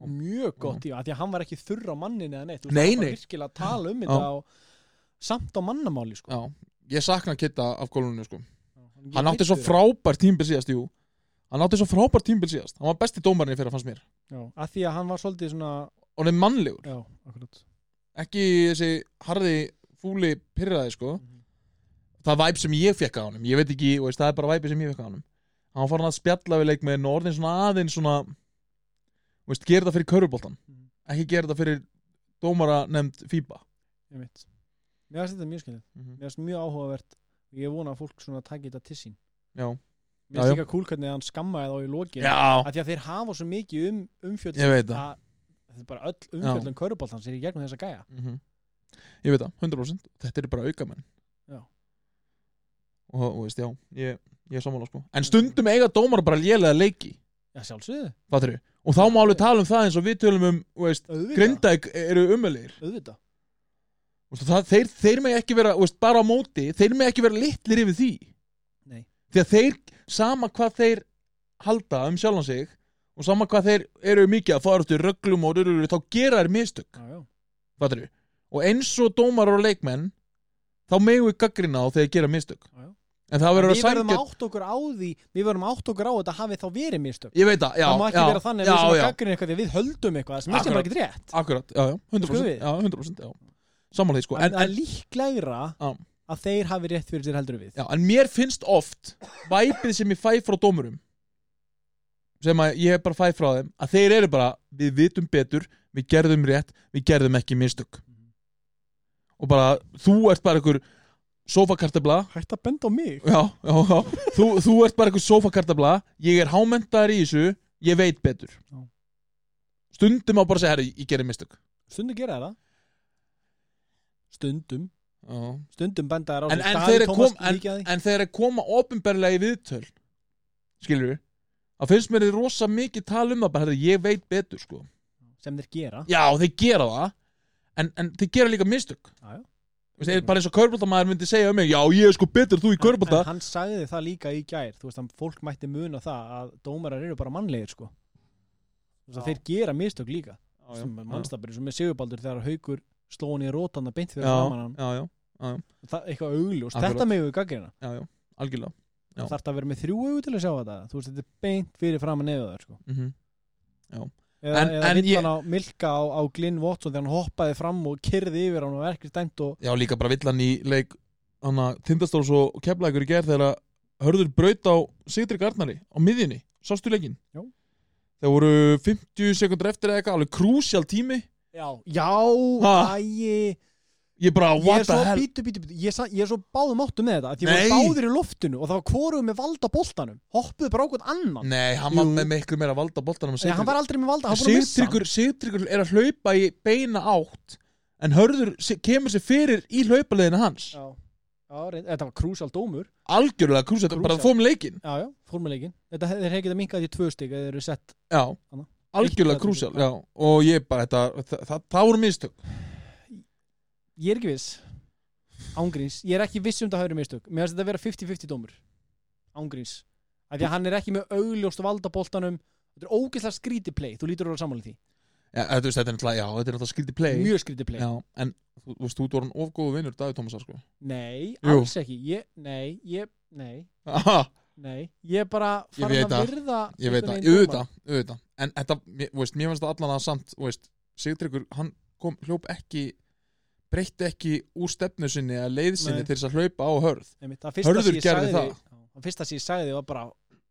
S2: Já,
S1: mjög gott tífi, af því að hann var ekki þurr á mannin eða neitt, þú
S2: Mhm. Nei,
S1: veist, hann var
S2: nei.
S1: virkilega að tala um
S2: Já.
S1: þetta og samt á mannamáli sko.
S2: já, ég sakna kitta af gólunni, sko
S1: Hann-
S2: hann átti svo frábær tímbil síðast jú. hann átti svo frábær tímbil síðast hann var besti dómarinn fyrir að fannst mér
S1: já, af því að hann var svolítið svona
S2: og hann er mannlegur,
S1: já, akkurat
S2: ekki þessi harði fúli pyrraði sko
S1: Mhm.
S2: það væp sem ég fekk á honum ég veit ekki, þú veist, það er bara væpi sem ég fekk á honum hann var farin að spjalla við leikmenn og orðin svona aðeins svona þú veist, gera þetta fyrir körfuboltan
S1: Mhm.
S2: ekki gera þetta fyrir dómara nefnd FIBA
S1: ég veit, mér finnst þetta mjög skil mér finnst mjög áhugavert ég vona að fólk svona taki þetta til sín
S2: já.
S1: mér finnst
S2: Já, já.
S1: líka kúl hvernig hann skammaði þá í lokin
S2: já,
S1: af því að þeir hafa svo mikið um umfjöld
S2: ég veit það
S1: að þetta er bara öll umfjöldun köruboltans er í gegnum þessa gæja
S2: -hmm. Ég veit það, 100% Þetta eru bara aukamenn
S1: Já.
S2: Og þú veist, já, ég, ég er sammála sko En stundum eiga dómar bara lélega leiki
S1: já sjálfsögðu,
S2: Fattur við Og þá má alveg tala um það eins og við tölum um þú veist,
S1: auðvitað
S2: Grindæk eru umöðlegir
S1: auðvitað,
S2: það, Þeir, þeir með ekki vera, þú veist, bara á móti Þeir með ekki vera litlir yfir því
S1: Nei.
S2: Því að þeir, sama hvað þeir halda um sjálfan sig og sama hvað þeir eru mikið að fara út í röglum og rurur, þá gera þeir mistök
S1: já já,
S2: Fattur Og eins og dómarar og leikmenn þá megum við gaggrina á þegar þeir gera mistök
S1: já, já.
S2: En það verður að
S1: við verðum
S2: sængja
S1: átt okkur á því við verðum átt okkur á þetta hafi þá verið mistök
S2: Ég veit það, já,
S1: það má ekki
S2: já,
S1: vera þannig að við
S2: já,
S1: sem
S2: já,
S1: gaggrinni eitthvað því að við höldum eitthvað sem er
S2: Akkurat.
S1: bara ekki rétt
S2: akkurat, já, já, 100%
S1: Skoðum við?
S2: Já, 100%, já, samanlega sko en,
S1: en það er
S2: en,
S1: líklegra
S2: Já.
S1: að þeir hafi rétt fyrir sér heldur en við
S2: já, en mér finnst oft væpið sem ég fæ frá dómurum sem að ég bara fæ frá þeim að þeir eru bara, við vitum betur við gerðum rétt, við gerðum ekki mistök
S1: Mhm.
S2: og bara, þú ert bara ykkur sofakartabla
S1: hægt að benda á mig
S2: já, já, já. Þú, þú ert bara eitthvað sofakartabla ég er hámentaðar í þessu ég veit betur
S1: Já.
S2: stundum á bara að segja, herri, ég gerir mistök
S1: stundum gera þeir það stundum
S2: já.
S1: stundum benda þær á
S2: En-
S1: sig.
S2: en
S1: Davíð
S2: þeir eru
S1: Tómas
S2: kom-
S1: líka því.
S2: en þegar þeir koma ofinberlega í viðtöl skilur við það finnst mér þið rosa mikið tala um það bara, herri, ég veit betur sko.
S1: sem þeir gera
S2: já, þeir gera það en, en þeir gera líka mistök
S1: Já, já.
S2: Þú veist, bara eins og körbóltamaður myndi segja um mig já, ég er sko betur þú í körbólta
S1: en hann sagði það líka í gær þú veist að fólk mætti muna það að dómarar eru bara mannlegir sko Þú veist að
S2: Já.
S1: þeir gera mistök líka
S2: já,
S1: sem mannstafur, sem er Sigurbaldur þegar haukur sló hann í rótana beint fyrir
S2: já,
S1: framan hann
S2: já, já,
S1: það, eitthvað augljóst,
S2: Akkurat.
S1: þetta megum við gaggrina
S2: já, já, algjörlega Já.
S1: þarf það að vera með þrjú augu til að sjá þetta þú veist þetta er beint fyrir framan nefðu það sko.
S2: mm
S1: eða,
S2: En-
S1: eða
S2: en
S1: vill
S2: ég-
S1: hann á Milka á, á Glyn Watson þegar hann hoppaði fram og kyrði yfir hann og er ekki stæmt og
S2: Já, líka bara villan í leik Þannig að Tindastóls og Keflækur í gerð þegar að Hörður braut á Sigdrik Arnari á miðjunni, sástu leikinn
S1: Já.
S2: Það voru 50 sekundur eftir eða eitthvað, alveg krúsjál tími
S1: já, já,
S2: Ha?
S1: æi
S2: Ég bara,
S1: ég
S2: what
S1: er svo
S2: the hell
S1: bítu, bítu, bítu, ég, er sa- ég er svo báðum áttu með þetta því að
S2: Nei.
S1: voru báðir í loftinu og það var hvorum með valda boltanum hoppuðu bara okkur annan
S2: Nei, hann var
S1: Jú.
S2: með miklu meira valda boltanum
S1: Nei, hann var aldrei með valda, hann var búin að missa hann.
S2: Sigdrikur, Sigdrikur er að hlaupa í beina átt en Hörður se- kemur sér fyrir í hlaupaleiðina hans
S1: já, já, reynd- þetta var krúsal dómur
S2: Algjörlega krúsjál, bara
S1: Crucial.
S2: fórum leikinn
S1: já, já, fórmuleikin þetta hef- þeir hefði getað minkað í tvö stig eða þeir eru sett
S2: Já,
S1: Þarna. Eitt-
S2: algjörlega krúsjál Já, og ég bara, þetta, það, það, það voru mistök
S1: ég er ekki viss ángríns, ég er ekki viss um það hafi verið mistök mér finnst þetta að vera 50-50 dómur ángríns, af því að hann er ekki með augljóst valda boltanum þetta er ógeðslega skríti play, þú lítur að vera sammála því
S2: Já, þetta, veist, þetta er náttúrulega, já, þetta er náttúrulega skildi play
S1: mjög skríti play,
S2: Já, en þú þú veist, þú voru hann ofgóðu vinnur Davíð Tómasar, sko
S1: nei,
S2: Jú.
S1: alls ekki ég, nei, ég, nei
S2: Aha,
S1: Nei, ég er bara
S2: Ég
S1: farin að
S2: veit það.
S1: virða
S2: <laughs> Ég veit það,
S1: einhvern
S2: ég
S1: veginn
S2: veit það, ég veit það En þetta, mér- þú veist, mér finnst það allan að samt, þú veist Sigtryggur, hann kom, hljóp ekki breytti ekki úr stefnu sinni eða leið sinni
S1: Nei.
S2: til þess að hlaupa á hörð
S1: Einmitt, það fyrsta
S2: Hörður
S1: sem ég sagði
S2: gerði það.
S1: Já, það fyrsta sem ég sagði því var bara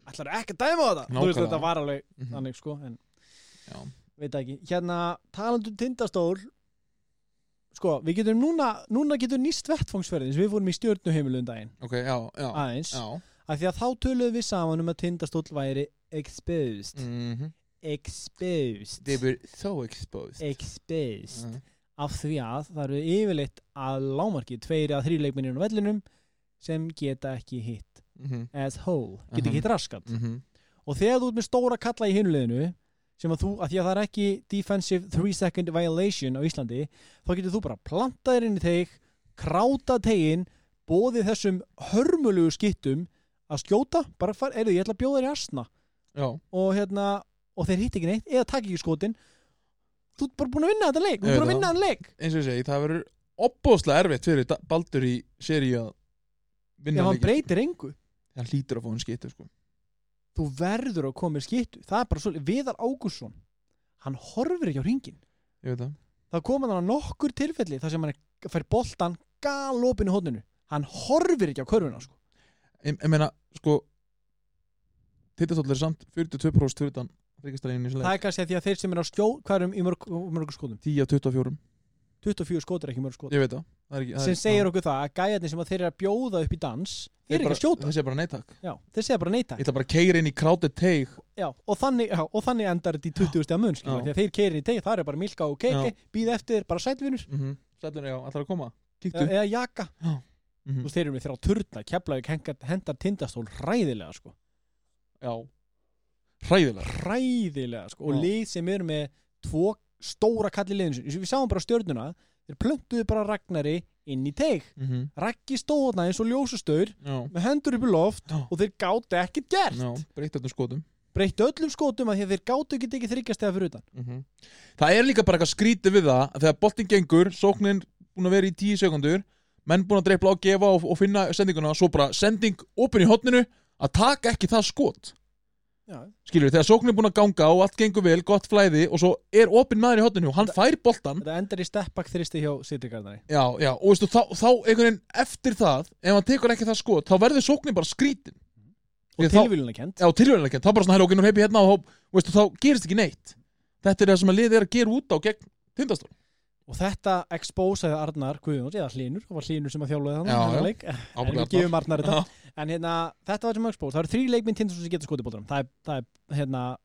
S1: ætlarðu ekki að dæma þetta þú veist
S2: Nákvæmlega.
S1: þetta var alveg
S2: Mhm.
S1: þannig sko en
S2: Já.
S1: veit það ekki hérna talandum tindastól sko við getum núna núna getum nýst vettfangsferðin sem við fórum í stjórnuheimilu um daginn
S2: ok, já, já,
S1: aðeins
S2: já.
S1: af því að þá töluðum við saman um að tindastól væri exposed
S2: Mm -hmm.
S1: exposed
S2: were so exposed
S1: exposed
S2: Mhm.
S1: af því að það eru yfirleitt að lámarki tveir að þrjú leikminni á vellinum sem geta ekki hitt
S2: Mhm.
S1: as whole, geta
S2: Mhm.
S1: ekki hitt raskat
S2: Mhm.
S1: og þegar þú ert með stóra kalla í hinuleginu sem að þú, að því að það er ekki defensive 3 second violation á Íslandi þá getur þú bara plantað þér inn í teig kráta tegin bóðið þessum hörmulugu skittum að skjóta, bara far, erðu, ég ætla að bjóða þér í asna
S2: já,
S1: og hérna, og þeir hitt ekki neitt eða takk ekki skotin þú ert bara búin að vinna þetta leik, þú
S2: Ég
S1: ert bara að
S2: veit það.
S1: vinna þetta leik
S2: eins og ég segi, það verður opbóðslega erfitt fyrir Da- Baldur í seri að vinna
S1: ef hann
S2: leikinn.
S1: breytir engu
S2: hann hlýtur að fá hann skittu sko.
S1: þú verður að koma með skittu það er bara svolítið, Viðar Ágússon hann horfir ekki á ringin
S2: ég veit það
S1: það koma þannig nokkur tilfelli þar sem hann er- fær boltan galopin í hodninu hann horfir ekki á körfuna sko.
S2: ég, ég meina, sko Tittastóll er samt 42% fyrir þann þryggastarleginn í
S1: það
S2: slæð
S1: er kannski að því að þeir sem er á skjó hverjum í mörg, mörgum skotum
S2: 10 af 24,
S1: 24 skot er ekki mörg skot
S2: ég veit það, það er ekki, það
S1: sem
S2: er,
S1: segir okkur það að gæjarnir sem að þeir eru að bjóða upp í dans þeir eru ekki að skjóta
S2: það sé bara neittak
S1: já, þeir segja bara
S2: ég
S1: neita
S2: ætla bara að keira inn í krátið teig
S1: já, og, þannig, já, og þannig endar þetta í 20 stega mun skilur,
S2: Já.
S1: því að þeir keirir í tegi, það er bara milka og keiki býð eftir bara sætvinur
S2: mm -hmm. já, ætlar að koma, kíktu
S1: eða jaka
S2: Mhm.
S1: þú veist þeir eru með þeirra á turna keflavík hengar- hendar tindastól ræðilega sko
S2: já, hræðilega
S1: ræðilega sko, og
S2: Já.
S1: lið sem eru með tvo stóra kalli liðin sinni. Eins og við sáum bara stjörnuna þeir plöntuðu bara Ragnari inn í teig
S2: mm -hmm.
S1: Raggi stóðna eins og ljósastaur
S2: já,
S1: með hendur upp í loft
S2: Já.
S1: og þeir gátu ekkert gert
S2: já, breytt öllum skotum
S1: breyttu öllum skotum að því að þeir gátu ekki ekki þryggjast eða fyrir utan
S2: Það er líka bara eitthvað skrítið við það að þegar boltin gengur, sóknin búin að vera í 10 sekundur menn búin að dreipla á, gefa og, og finna sendinguna svo bara sending opin í hotninu að taka ekki það skot
S1: Já.
S2: skilur, þegar sóknin er búin að ganga og allt gengur vel, gott flæði og svo er opin maður í hotninu og hann fær boltan
S1: þetta endar í steppbakk þristi hjá Sittrikarnari
S2: já, já, og veistu, þá, þá einhvern veginn eftir það ef hann tekur ekki það skot, þá verður sóknin bara skrítin
S1: og
S2: Ég þá-
S1: tilvílunarkend
S2: já, tilhjörlega ekki, þá bara svona hælu okkur heipi hérna og þá, veistu, þá gerist ekki neitt þetta er það sem að liðið er að gera út á gegn tindastól
S1: og þetta expósaði Arnar Guðjóns eða Hlynur, það var Hlynur sem að þjálfaði
S2: Já, já.
S1: þannig en við gefum Arnar þetta En hérna, þetta var sem Mögsból, það eru þrý leikminn Tindarsson sem getur skotið bóltanum. Það er, það er hérna,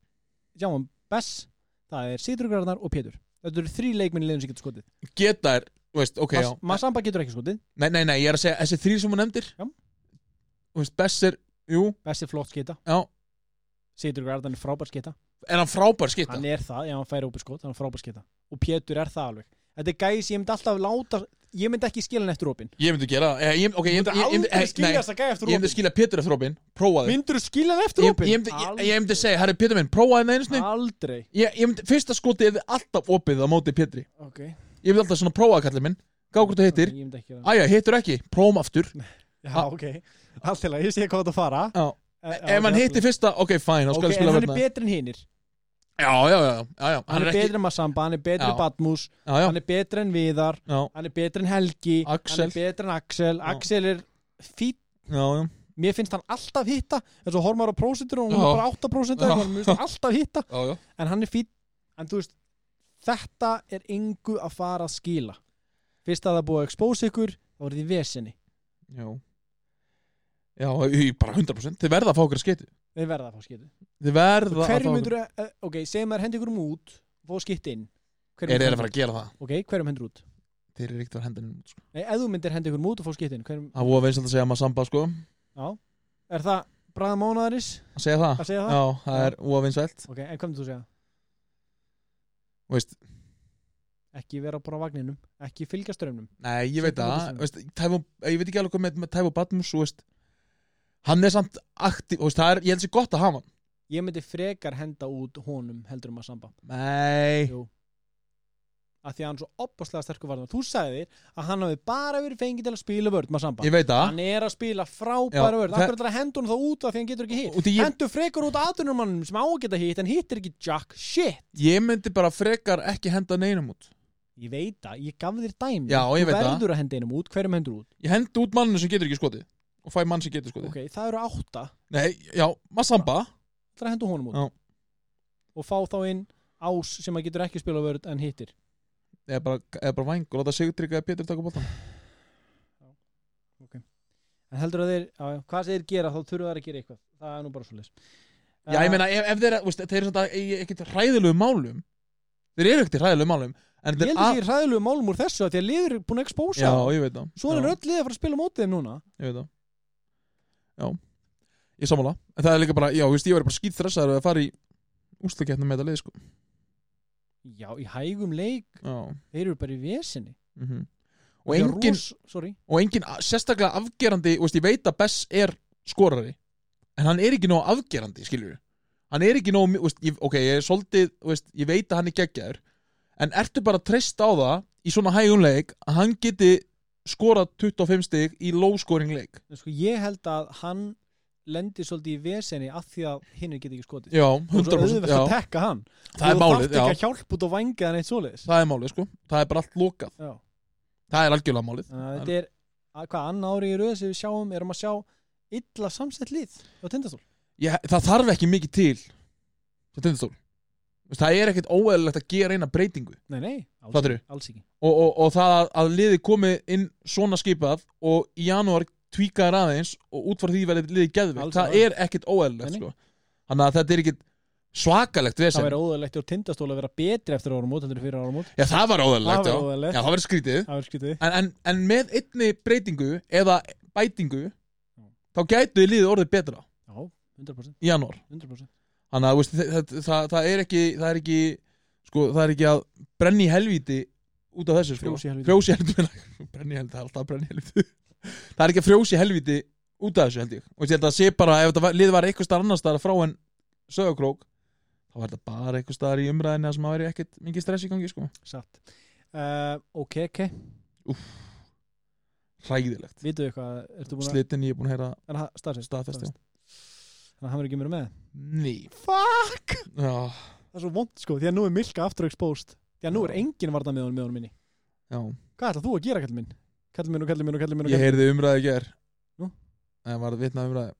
S1: sjáum, Bess, það er Sýturgrarnar og Pétur. Þetta eru þrý leikminn í liðum sem getur skotið.
S2: geta er, þú veist, ok,
S1: Okay,
S2: já
S1: Massamba getur ekki skotið,
S2: Nei, nei, nei, ég er að segja, þessi þrýr sem hún nefndir
S1: Já.
S2: Þú veist, Bess er, jú,
S1: Bess er flott skita,
S2: já
S1: Sýturgrarnar er frábær skita.
S2: Er hann frábær skita?
S1: Hann er það, ef hann færi upp í skot, hann er frábær skita. Og Pétur er það alveg. Þetta er gæði sem ég myndi alltaf láta, ég myndi ekki skilja hann eftir opinn.
S2: Ég myndi gera það, Eh, ég, ok, ég myndi ég- ég myndi- eh, nei,
S1: þessa gæði
S2: Ég myndi skilja Pétur eftir opinn, prófa þig
S1: Myndur þú skilja hann eftir
S2: Ég,
S1: opinn?
S2: ég, myndi, ég, ég myndi segja, herri Pétur minn, prófa þig með einu sinni
S1: Ah. Aldrei.
S2: ég, ég myndi, fyrsta skoti er alltaf opið á móti Pétri
S1: Ok.
S2: Ég myndi alltaf svona prófa kallið minn, gá hvort þú hittir
S1: Ég myndi ekki gera það.
S2: Æja, hittur ekki, prófum aftur
S1: Já, ok. Allt til að ég sé hvað þetta fara.
S2: Já.
S1: Eh, já,
S2: Ef
S1: ok,
S2: hann
S1: allt í
S2: hittir fyrsta, ok, fine, þá
S1: Ok,
S2: skal ég
S1: en
S2: spila
S1: hann
S2: verna
S1: er betri en hinnir
S2: Já, já, já, já, já,
S1: Hann er betri en Massamba, hann er betri en
S2: Já.
S1: Batmus
S2: Já, já,
S1: Hann er betri en Viðar,
S2: já,
S1: hann er betri en Helgi
S2: Axel.
S1: Hann er betri en Axel,
S2: Já.
S1: Axel er fýtt
S2: já, já
S1: Mér finnst hann alltaf hitta En svo horfum maður á prósentur og hún
S2: Já.
S1: er bara 8%
S2: Já.
S1: eða eitthvað, Mér finnst hann alltaf hitta
S2: Já, já
S1: En hann er fýtt, en þú veist Þetta er engu að fara að skila Fyrst að það er búið að expose ykkur Þá er þið í vesinni,
S2: Já Já, í bara 100% Þið verða að fá okkur að skeiti
S1: þeir verða að fá skitu
S2: Þið verða að fá
S1: Hverjum
S2: okkur
S1: myndur, ok, segjum maður hendi ykkur um út Fá skitt inn Hverjum
S2: Er þeir
S1: myndirðu
S2: að fara að gera það?
S1: henda- Ok, hverjum hendur út?
S2: Þeir eru ríkt að henda henni út sko.
S1: Nei, ef þú myndir hendi ykkur um út og fá skitt inn Hverjum
S2: Það voru að veins að segja maður samba sko
S1: Já, er það bræða mánuðaris
S2: Að segja það?
S1: að segja það?
S2: Já, það
S1: Já.
S2: er óafinsvælt
S1: Ok, en hvað myndir þú segja?
S2: Veist,
S1: Ekki vera bara á vagninum, ekki fylgja strömmnum
S2: Nei, ég veit
S1: Settu
S2: það
S1: móti
S2: veist, Tævo, Ég veit ekki alveg hvað með, með Tævo Batmus þú veist, Hann er samt aktiv veist, Það er, ég held sér gott að hafa hann
S1: Ég myndi frekar henda út honum heldur um að samba
S2: Nei
S1: Jú að því að hann er svo opaslega sterkur varðan þú sagðir að hann hafi bara verið fengið til að spila vörð maður samba,
S2: Ég veit það
S1: hann er að spila
S2: Já,
S1: frábæra vörð,
S2: það-
S1: akkur ætlar að henda hún þá út af því að hann getur ekki hitt,
S2: Úti ég,
S1: hendur frekar út aðunumannum sem á að geta hitt, en hittir ekki jack shit
S2: ég myndi bara frekar ekki henda neinum út
S1: Ég veit það, ég gaf þér dæmi
S2: Já, ég
S1: Þú
S2: veit það.
S1: verður að henda einum út, hverjum hendur út
S2: Ég hendi út manninu sem getur ekki skotið og fæ mann sem getur skotið
S1: Ok, það eru átta,
S2: Nei, já, Massamba
S1: það er að henda honum út
S2: Já.
S1: Og fá þá inn ás sem að getur ekki spila vörð en hittir
S2: eða bara, eða bara væng og láta Sigurtrygg eða Pétur taka bóttan
S1: En heldur að þeir, á, já, hvað sem þeir gera þá þurfa þeir að gera eitthvað Það er nú bara svo leys
S2: Já, ég meina, ef, ef þeir, veist, þeir eru svona í ekkert hræðilegu málum Þeir eru ekkert í hræðilegu málum En
S1: Eh, Ég
S2: þeir
S1: held að ég ræðilegu málum úr þessu að því að liður er búin að expósa
S2: Já,
S1: þá.
S2: ég veit það
S1: Svo er
S2: Já.
S1: öll liðið að fara að spila á mótið þeim núna
S2: ég veit það já, ég sammála en það er líka bara, já, þú veist, ég var bara skýt þressaður að fara í úslakeppnum með þetta leið, sko
S1: Já, í hægum leik,
S2: já,
S1: þeir eru bara í vesinni
S2: mhm og engin,
S1: Rúss, sorry
S2: og engin a- sérstaklega afgerandi, þú veist, ég veit að Bess er skorari, en hann er ekki nóg afgerandi, skilur við, hann er ekki nóg, mi- þú veist, ég, ok, ég er svolítið þú veist, ég veit að hann er geggjaður en ertu bara að treysta á það í svona hægum leik að hann geti skorað 25 stig í low scoring leik
S1: En sko, ég held að hann lendir svolítið í vesenni af því að hinn er getið ekki skotið
S2: já,
S1: Og svo
S2: 100%
S1: auðvelt að
S2: já,
S1: tekka hann
S2: það er
S1: Þú
S2: málið,
S1: þarft ekki
S2: já
S1: að hjálp út og vangið hann eitt svoleiðis
S2: það er málið sko, það er bara allt lokað
S1: Já.
S2: það er algjörlega málið
S1: Þannig að Þetta er, að hvað annar ári í röð sem við sjáum, erum að sjá illa samsett lið á tindastól
S2: ég, það þarf ekki mikið til hjá Tindastól Þú veist, það er ekkert óeðlilegt að gera eina breytingu
S1: Nei, nei, alls,
S2: Fattarðu?
S1: alls ekki
S2: og, og, og það að, að liði komið inn svona skipað og í janúar tvíkaðir aðeins og út frá því verið liði geðvikt,
S1: Alls
S2: það
S1: ekki.
S2: er ekkert óeðlilegt
S1: Nei, nei.
S2: sko. þannig að þetta er ekkert svakalegt
S1: Það
S2: vesen
S1: væri óðalegt úr tindastól að vera betri eftir árum út, heldur en fyrir árum út
S2: já það var
S1: Það
S2: óeðlilegt,
S1: væri
S2: já. já
S1: óðalegt,
S2: það var skrítið
S1: það væri skytið
S2: en, en, en með einni breytingu eða bætingu þá gætu liðið orðið betra
S1: Já, 100%,
S2: í janúar
S1: 100%.
S2: þannig að veist, það, það, það er ekki það er ekki, sko, það er ekki að brenni helvíti út af þessu sko.
S1: Frjós í helvíti.
S2: frjósi helvíti meina- <laughs> brenni helvíti, það er alltaf brenni helvíti <laughs> það er ekki að frjósi helvíti út af þessu held ég og ég held að sé bara ef þetta var- lið var eitthvað starf annar starf frá en sögakrók þá var þetta bara eitthvað starf í umræðinni þar sem það væri ekkert mikið stress í gangi sko.
S1: Satt uh, Ok, ok,
S2: hræðilegt,
S1: vituðu eitthvað Ertu búin að
S2: slitin ég er búin að heyra
S1: En hann- staðfest,
S2: staðfest já.
S1: Þannig að hann verður ekki meira með
S2: ný,
S1: Fuck
S2: já,
S1: Það er svo vond sko, því að nú er Milka aftur exposed Því að nú er engin varna með honum með honum minni
S2: já
S1: Hvað ætlað þú að gera, kallið minn? Kallið minn og kallið minn og kallið minn og
S2: ég
S1: kallið minn
S2: heyrði umræði í gær
S1: Nú?
S2: það var vitnað umræði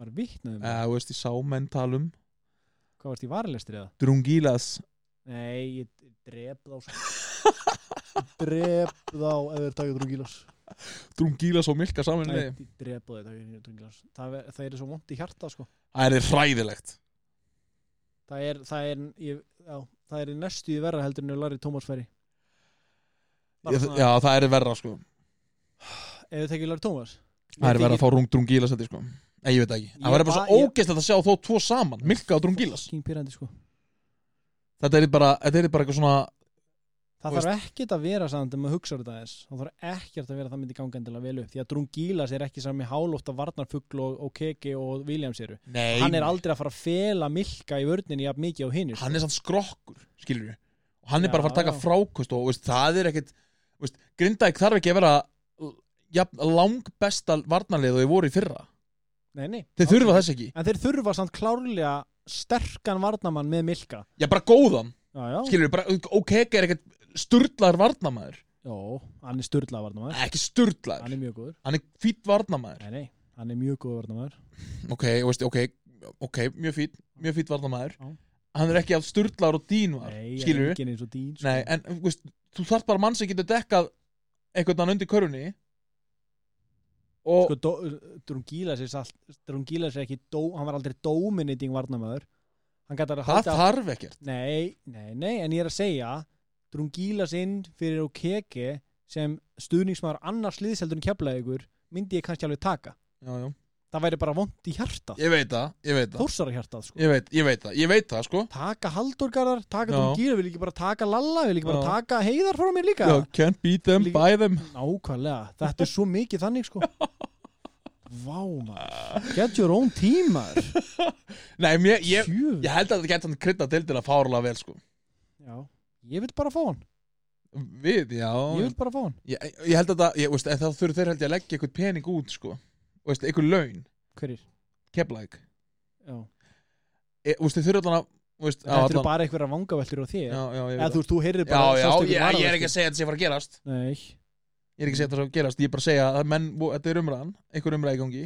S1: Var vitnaðum
S2: eða, þú veist, ég sá menn tala
S1: um
S2: um
S1: Hvað varst í varilestri eða?
S2: Drungilas
S1: Nei, ég drep þá sko.
S2: <laughs>
S1: Ég Drep þá ef þeir taka drungilas
S2: Drungilas og Milka saman
S1: Nei,
S2: Nei.
S1: ég drep þá ef þeir taka drungilas Það er, það er svo vond í hjarta sko
S2: það er hræðilegt
S1: Það er, það er, ég, já, það er næstu í verra heldur en ég lari Tómas Ferri Bara
S2: ég,
S1: svona,
S2: já það er verra sko
S1: Ef þið tekið lari Tómas
S2: það er verra að fá Rung Drungilas þetta sko en ég veit það ekki,
S1: Ég
S2: það verður bara
S1: ba-
S2: svo
S1: ég-
S2: ógeðslegt að sjá þó tvo saman, Milka og Drungilas
S1: King Pirandi sko
S2: þetta er bara, þetta er bara eitthvað svona
S1: Það
S2: Þú
S1: þarf ekkert að vera samt ef maður hugsa þetta aðeins Það þarf ekkert að vera að það myndi ganga endilega vel upp Því að Drungilas er ekki sami hálótt að varnarfugl og, og keki og Williams eru
S2: Nei,
S1: Hann er aldrei að fara að fela milka í vörninni jafn mikið á hinnir
S2: hann er samt skrokkur skilur við, og hann
S1: Já,
S2: er bara að fara að taka
S1: já.
S2: frákost og veist, það er ekkit veist, Grindavík þarf ekki að vera ja, lang besta varnarlið og þau voru í fyrra,
S1: Nei, nei
S2: þeir þurfa þess ekki
S1: En þeir þurfa samt klárlega sterkan varnamann með milka
S2: já bara góðan,
S1: Já, já
S2: skilur við, bara ok er ekkit sturlaður varnamæður
S1: Jó, hann er styrlað varnamann
S2: ekki sturlaður
S1: Hann er mjög góður
S2: hann er fýtt varnamæður
S1: Nei, nei, hann er mjög góður varnamann
S2: ok, og veist, ok, ok, mjög fýtt mjög fýtt varnamæður
S1: Já.
S2: hann er ekki að sturlar og dín var
S1: Nei,
S2: skilur
S1: enginn eins og dýn sko.
S2: Ah, nei, en þú veist, þú þarf bara mann sem getur dekkað einhvern veginn undir körunni og
S1: Sko, Dó- Drungilas er, salt, Drungilas er ekki dó, Hann var aldrei dominating varnamann Hann gæti að
S2: það þarf ekkert
S1: Nei, nei, nei, en ég er að segja Drungilas inn fyrir Okeke sem stuðningsmaður annars liðseldur en keflaðið myndi ég kannski alveg taka
S2: já, já.
S1: það væri bara vond í hjartað
S2: ég veit það, ég veit það
S1: þórsara hjartað sko
S2: ég veit, ég veit það, ég veit það sko
S1: taka Haldurgarðar, taka
S2: Já.
S1: Drungilas vil ekki bara taka Lalla, vil ekki bara
S2: Já.
S1: taka Heiðar frá mér líka
S2: can't beat them,
S1: Líka-
S2: buy them
S1: nákvæmlega, þetta er svo mikið þannig
S2: <laughs>
S1: sko vá maður get your own team maður
S2: nei, mér, ég,
S1: Djöfull.
S2: ég held að þetta geta hann krydda til til að fárlega vel sko
S1: Já. ég vil bara fá hann
S2: við, já
S1: ég vil bara fá hann
S2: Ég, ég held að það, ég, veist, en þá þurfur þeir held ég að leggja eitthvað pening út, sko Og veist, eitthvað laun,
S1: hverjir?
S2: keflæk
S1: Já.
S2: e, veist, Þeir þurfur allan að Þú veist,
S1: þetta eru
S2: allan-
S1: bara einhverja vangaveltur á þér
S2: já, já, ég,
S1: eða
S2: veit
S1: þú veist, þú heyrðir
S2: það. já,
S1: bara
S2: já, ég, ég er
S1: sko.
S2: ekki að segja að þetta sé að fara að gerast
S1: Nei,
S2: ég er ekki að segja þetta sé að fara að gerast, ég er bara að segja að menn, þetta er umræðan, einhver umræði gangi